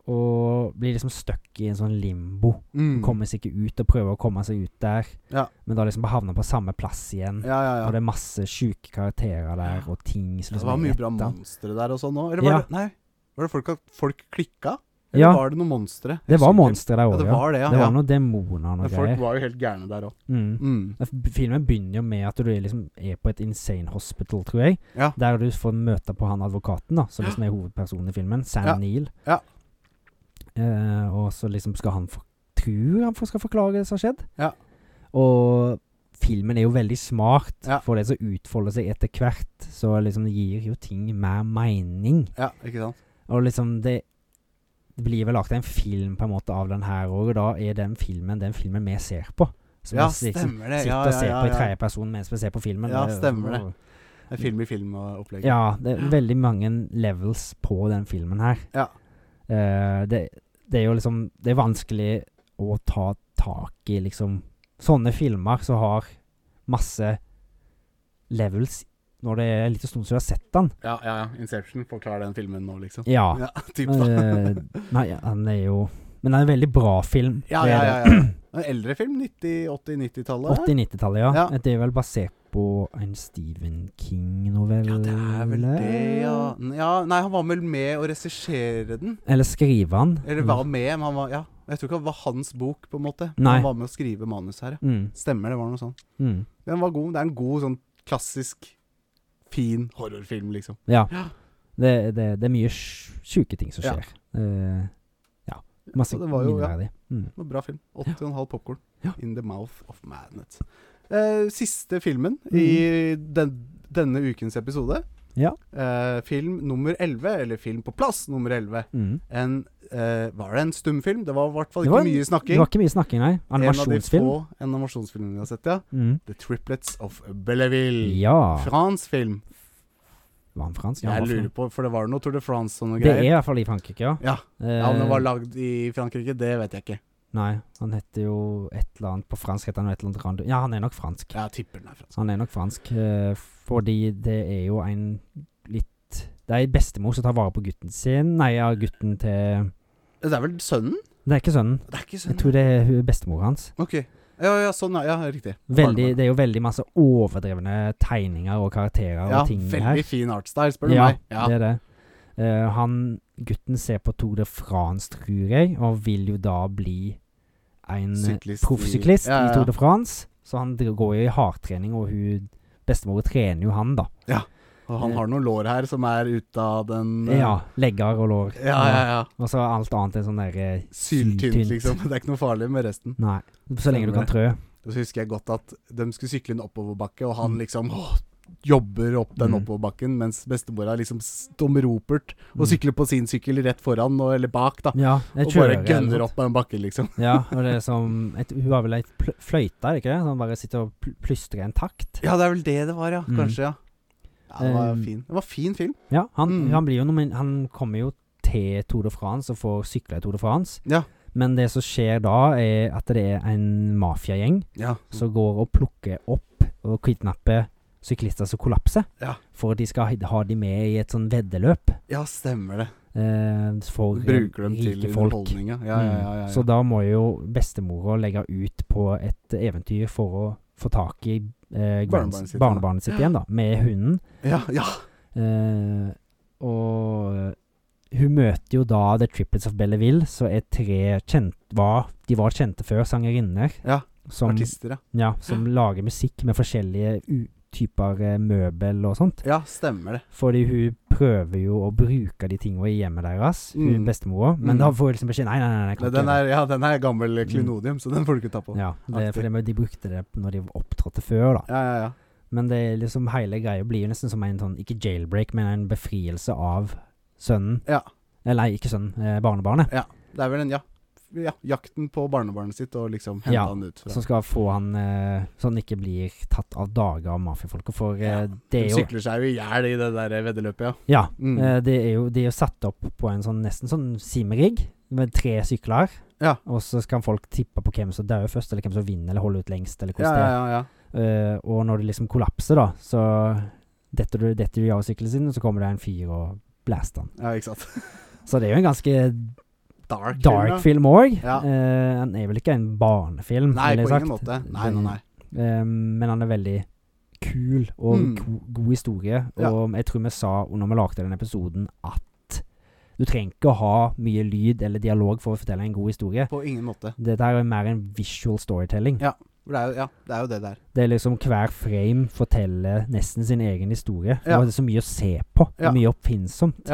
S2: Og blir liksom stuck i en sånn limbo.
S1: Mm.
S2: Kommer seg ikke ut, og prøver å komme seg ut der,
S1: Ja.
S2: men da liksom havner på samme plass igjen.
S1: Ja, ja, ja.
S2: Og det er masse sjuke karakterer der, og ting som
S1: Ja, Det
S2: liksom
S1: var
S2: er
S1: mye bra
S2: etta.
S1: monstre der og sånn òg. Eller var
S2: Ja.
S1: det Nei, var det folk at folk klikka? Eller
S2: Ja,
S1: var det noen monstre? Jeg
S2: det var
S1: husker ikke.
S2: monstre der
S1: Ja,
S2: òg,
S1: det
S2: ja.
S1: var det, ja.
S2: Det
S1: ja.
S2: var noen demoner og noe
S1: Men folk
S2: greier.
S1: var jo helt gærne der òg.
S2: Mm.
S1: Mm.
S2: Filmen begynner jo med at du liksom er på et insane hospital, tror jeg.
S1: Ja.
S2: Der du får møte på han advokaten, da, som liksom er hovedpersonen i filmen. Sam
S1: Ja.
S2: Neill.
S1: Ja.
S2: Eh, og så liksom skal han for, Tror han for, skal forklare det som har skjedd.
S1: Ja.
S2: Og filmen er jo veldig smart,
S1: Ja.
S2: for det som utfolder seg etter hvert, så liksom det gir jo ting mer mening.
S1: ja, ikke sant?
S2: Og liksom det det blir vel lagt en film på en måte av den her òg, og da er den filmen den filmen vi ser på. Som
S1: Ja,
S2: vi liksom
S1: stemmer det. Eh,
S2: sitter
S1: Ja,
S2: og
S1: ja,
S2: ser
S1: ja,
S2: på i
S1: ja.
S2: tredjeperson mens vi ser på filmen.
S1: Ja,
S2: er jo-
S1: stemmer det. Det er Film i film-opplegg.
S2: Ja, det er veldig mange levels på den filmen her.
S1: Ja.
S2: Eh, det, det er jo liksom Det er vanskelig å ta tak i liksom Sånne filmer som har masse levels når det er en liten stund siden du har sett den.
S1: ja, ja. ja. Inception forklarer den filmen nå, liksom.
S2: Ja.
S1: Ja, typ da.
S2: eh, nei, han er jo Men han er en veldig bra film.
S1: Ja,
S2: Det
S1: ja,
S2: er
S1: ja.
S2: det.
S1: ja. En eldre film? 90-, 80-, 90-tallet?
S2: 80-90-tallet, ja.
S1: Ja.
S2: Det er vel basert på en Stephen King-novelle?
S1: Ja, det er vel det, ja. N- ja. Nei, han var vel med å regissere den.
S2: Eller skrive den.
S1: Eller var med, men han var Ja. Jeg tror ikke det var hans bok, på en måte. Men
S2: Mm. Nei.
S1: Han var med å skrive manus her, ja.
S2: Mm.
S1: Stemmer, det var noe sånt.
S2: Mm.
S1: Den var god. Det er en god sånn klassisk, fin horrorfilm, liksom.
S2: Ja.
S1: Ja.
S2: Det, det, det er mye sj- sjuke ting som
S1: Ja.
S2: skjer. Eh, ja. Masse
S1: Så det var jo, ja.
S2: minneverdig. Mm.
S1: Det var Bra film. 8,5 popkorn.
S2: Ja.
S1: In the mouth of madness. Eh, siste filmen i den, denne ukens episode.
S2: Mm. Ja.
S1: Eh, film nummer 11, eller film på plass nummer 11.
S2: Mm.
S1: En, eh, var det en stumfilm? Det var i hvert fall
S2: Det var
S1: ikke
S2: en-
S1: mye
S2: Det
S1: snakking.
S2: var ikke mye snakking, nei.
S1: En av de
S2: Animasjonsfilm.
S1: få animasjonsfilmene vi har sett, ja.
S2: Mm.
S1: The Triplets of Belleville.
S2: Ja.
S1: Fransk film.
S2: Var han fransk? Ja,
S1: Jeg
S2: han var
S1: lurer
S2: fransk.
S1: på, for det var noe Tour de France og noe
S2: Det er eh, i
S1: greier.
S2: hvert fall i Frankrike, ja.
S1: Ja. Ja, Om det var lagd i Frankrike, det vet jeg ikke.
S2: Eh, Nei, han heter jo et eller annet På fransk heter han jo et eller annet random Ja, han er nok fransk.
S1: Jeg tipper den er fransk.
S2: Han er nok fransk, eh, fordi det er jo en litt Det er en bestemor som tar vare på gutten sin Nei, ja, gutten til
S1: Det er vel sønnen?
S2: Det er ikke sønnen.
S1: Det er ikke
S2: Jeg
S1: sønnen.
S2: tror det er hun bestemor hans.
S1: Ok. Ja, ja, sånn, ja. ja riktig.
S2: Veldig,
S1: Barnebarn.
S2: det er jo veldig masse overdrevne tegninger og karakterer
S1: ja,
S2: og ting
S1: veldig
S2: her.
S1: fin artstyle, spør du
S2: ja,
S1: meg. Ja.
S2: det er det. Eh, han gutten ser på Tour de France, tror jeg, og vil jo da bli en eh,
S1: Syklist i-
S2: proffsyklist
S1: Ja, ja,
S2: i
S1: ja.
S2: Tour de France. Så han dri- går jo i hardtrening, og hun bestemor trener jo han, da.
S1: Og han har noen lår her som er ut av den eh,
S2: Ja. Legger og lår.
S1: ja, ja, ja.
S2: Og så er alt annet er sånn derre
S1: Syltynt, liksom. Det er ikke noe farlig med resten.
S2: Nei. Så lenge du kan trø.
S1: Og så husker jeg godt at de skulle sykle en oppoverbakke, og han liksom åh, jobber opp den
S2: Mm.
S1: oppoverbakken, mens bestemora liksom Tom Ropert og
S2: Mm.
S1: sykler på sin sykkel rett foran, og, eller bak, da.
S2: Ja, jeg
S1: Og bare
S2: kjører, eller
S1: gønner
S2: noe.
S1: opp den bakken, liksom.
S2: Ja, og det er som et, Hun har vel ei pl- fløyte, er det ikke det? Som bare sitter og pl plystrer en takt.
S1: Ja, det er vel det det var, ja.
S2: Mm.
S1: Kanskje, ja. Ja, det var
S2: Eh,
S1: fin. Det var fin film.
S2: Ja, han,
S1: Mm.
S2: han blir jo nomin Han kommer jo til Tour de France og får sykle i Tour de France.
S1: Ja.
S2: Men det som skjer da, er at det er en mafiagjeng
S1: Ja.
S2: som går og plukker opp og kidnapper syklister som kollapser.
S1: Ja.
S2: For at de skal ha- ha de med i et sånn veddeløp
S1: ja, stemmer det.
S2: eh, for eh,
S1: Bruker dem til
S2: rike folk. Mm.
S1: underholdninga. Ja, ja, ja, ja, ja.
S2: Så da må jo bestemora legge ut på et eventyr for å få tak i eh,
S1: Barnebarnet
S2: barnebarnet
S1: sitt,
S2: barnebarnet sitt igjen, da, med hunden.
S1: ja, ja.
S2: Eh, og eh, hun møter jo da The Triplets of Belleville, så er tre kjent, var, De var kjente før, sangerinner.
S1: Ja,
S2: som,
S1: Artister, ja.
S2: ja, som lager musikk med forskjellige u typer eh, møbel og sånt.
S1: Ja, stemmer det.
S2: Fordi hun prøver jo å bruke de tingene i hjemmet deres,
S1: Mm.
S2: hun bestemora. Men
S1: Mm.
S2: da får hun liksom beskjed Nei, nei, nei. nei kan
S1: Nei,
S2: ikke
S1: den
S2: gjøre
S1: er, ja, den er gammel klenodium, så den får du ikke ta på.
S2: det. Mm. ja, det,
S1: Aktig.
S2: for det, de brukte det når de opptrådte før, da.
S1: Ja, ja, ja.
S2: Men det er liksom hele greia blir jo nesten som en sånn Ikke jailbreak, men en befrielse av sønnen.
S1: Ja.
S2: Eller nei, ikke sønnen. Eh, barnebarnet.
S1: Det er vel en, ja. ja jakten på barnebarnet sitt, og liksom hente
S2: Ja,
S1: han ut fra
S2: Som skal få han eh, Så han ikke blir tatt av dage av mafiafolket. For eh,
S1: Ja,
S2: det
S1: De
S2: er jo
S1: sykler seg jo i hjel i det der veddeløpet, ja.
S2: Ja.
S1: Mm.
S2: Eh, det er jo, de er jo satt opp på en sånn nesten sånn simerigg med tre sykler.
S1: Ja.
S2: Og så skal folk tippe på hvem som dør først, eller hvem som vinner, eller holder ut lengst, eller
S1: ja, ja,
S2: hvordan det
S1: ja,
S2: er.
S1: ja.
S2: Eh, og når det liksom kollapser, da, så detter du, detter du av sykkelen sin, og så kommer det en fyr og blaster han.
S1: ja, ikke sant.
S2: Så det er jo en ganske
S1: Dark,
S2: dark
S1: film,
S2: film òg.
S1: Ja.
S2: Eh, han er vel ikke en barnefilm,
S1: da. Nei,
S2: ville
S1: på
S2: jeg sagt.
S1: ingen måte. Nei, nei, nei.
S2: Eh, men han er veldig kul og
S1: Mm.
S2: go god historie.
S1: Ja.
S2: Og jeg tror vi sa når vi lagde den episoden at du trenger ikke å ha mye lyd eller dialog for å fortelle en god historie.
S1: På ingen måte.
S2: Dette her er mer en visual storytelling.
S1: Ja. For det er jo, ja, det er jo det der.
S2: Det er liksom hver frame forteller nesten sin egen historie.
S1: Ja.
S2: Og det er så mye å se på.
S1: Ja.
S2: Mye oppfinnsomt.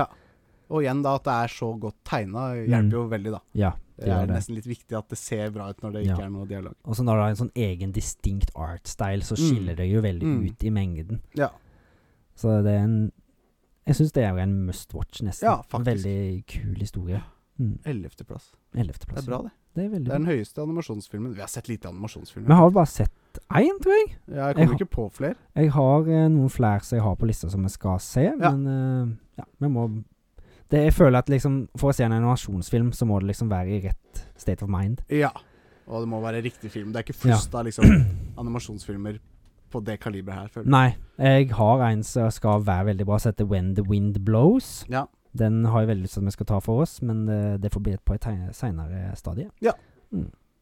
S1: Og igjen da, at det er så godt tegna,
S2: Mm.
S1: hjelper jo veldig, da.
S2: Ja.
S1: Det
S2: gjør
S1: er
S2: det.
S1: nesten litt viktig at det ser bra ut når det
S2: Ja.
S1: ikke er noe dialog.
S2: Og så når det er en sånn egen distinct art style, så
S1: Mm.
S2: skiller det jo veldig
S1: Mm.
S2: ut i mengden.
S1: Ja.
S2: Så det er en Jeg syns det er en must watch, nesten.
S1: Ja, faktisk.
S2: Veldig kul historie. Mm.
S1: Ellevteplass. Det er
S2: Ellevteplass.
S1: bra, det.
S2: Det er veldig
S1: Det er
S2: bra.
S1: den høyeste animasjonsfilmen. Vi har sett lite animasjonsfilmer.
S2: Vi har bare sett én, tror jeg.
S1: Ja, jeg kommer
S2: jeg har-
S1: ikke på flere.
S2: Jeg har eh, noen flere som jeg har på lista som vi skal se,
S1: Ja.
S2: men eh, ja, vi må det, Jeg føler at liksom for å se en animasjonsfilm, så må det liksom være i rett state of mind.
S1: Ja. Og det må være riktig film. Det er ikke flust av liksom, animasjonsfilmer på det kaliberet her, føler jeg.
S2: Nei, jeg har en som skal være veldig bra, som heter When the Wind Blows.
S1: Ja.
S2: Den har jeg veldig lyst til at vi skal ta for oss, men eh, det får bli et på et seinere stadie.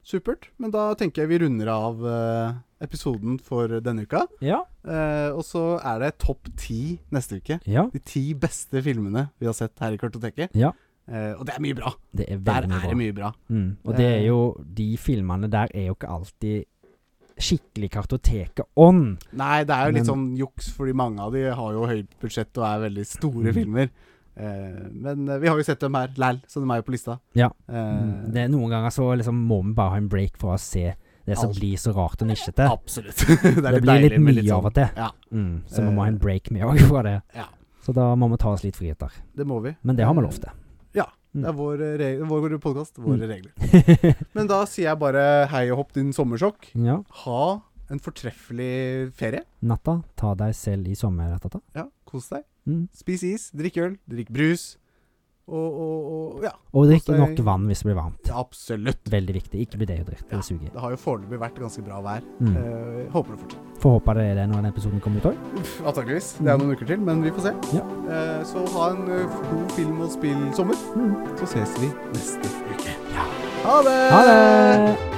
S1: Supert. Men da tenker jeg vi runder av eh, episoden for denne uka.
S2: Ja.
S1: Eh, og så er det topp ti neste uke.
S2: ja.
S1: De ti beste filmene vi har sett her i Kartoteket.
S2: Ja.
S1: Eh, og det er mye bra.
S2: Det er
S1: Der
S2: veldig
S1: er
S2: mye
S1: det
S2: bra.
S1: mye Eh. bra.
S2: Mm. Og det er jo De filmene der er jo ikke alltid skikkelig kartoteket-ånd.
S1: Nei, det er jo litt
S2: Men-
S1: sånn juks, fordi mange av de har jo høyt budsjett og er veldig store
S2: Mm.
S1: filmer. Eh, men eh, vi har jo sett dem her læl, så de er jo på lista.
S2: Ja. Mm,
S1: Eh,
S2: Det er Noen ganger så liksom må vi bare ha en break for å se det som
S1: Alt.
S2: blir så rart og nisjete.
S1: Absolutt. det er
S2: Det blir litt mye av
S1: sånn-
S2: og til.
S1: ja.
S2: Mm, så vi må ha en
S1: Eh.
S2: break med òg fra det.
S1: Ja.
S2: Så da må vi ta oss litt friheter.
S1: Det må vi.
S2: Men det har vi lov
S1: Eh,
S2: til.
S1: Det er vår, eh, reg vår podkast, våre
S2: Mm.
S1: regler. Men da sier jeg bare hei og hopp, din sommersjokk.
S2: ja.
S1: Ha en fortreffelig ferie.
S2: Natta, ta deg selv i sommerrettata.
S1: Ja, Kos deg.
S2: Mm.
S1: Spis is, drikk øl, drikk brus. Og, og, og ja,
S2: Og drikk
S1: Kos deg.
S2: nok vann hvis det blir varmt.
S1: absolutt.
S2: Veldig viktig. Ikke bli dehydrert.
S1: Ja.
S2: Det suger.
S1: Det har jo foreløpig vært ganske bra vær.
S2: Mm.
S1: Eh, håper det fortsetter.
S2: Får håpe det er det når den episoden kommer ut òg.
S1: Uff, Antakeligvis. Det er noen uker til, men vi får se.
S2: Ja.
S1: Eh, så ha en eh, god film- og spillsommer.
S2: Mm.
S1: Så ses vi neste uke. Ha det!
S2: Ha det!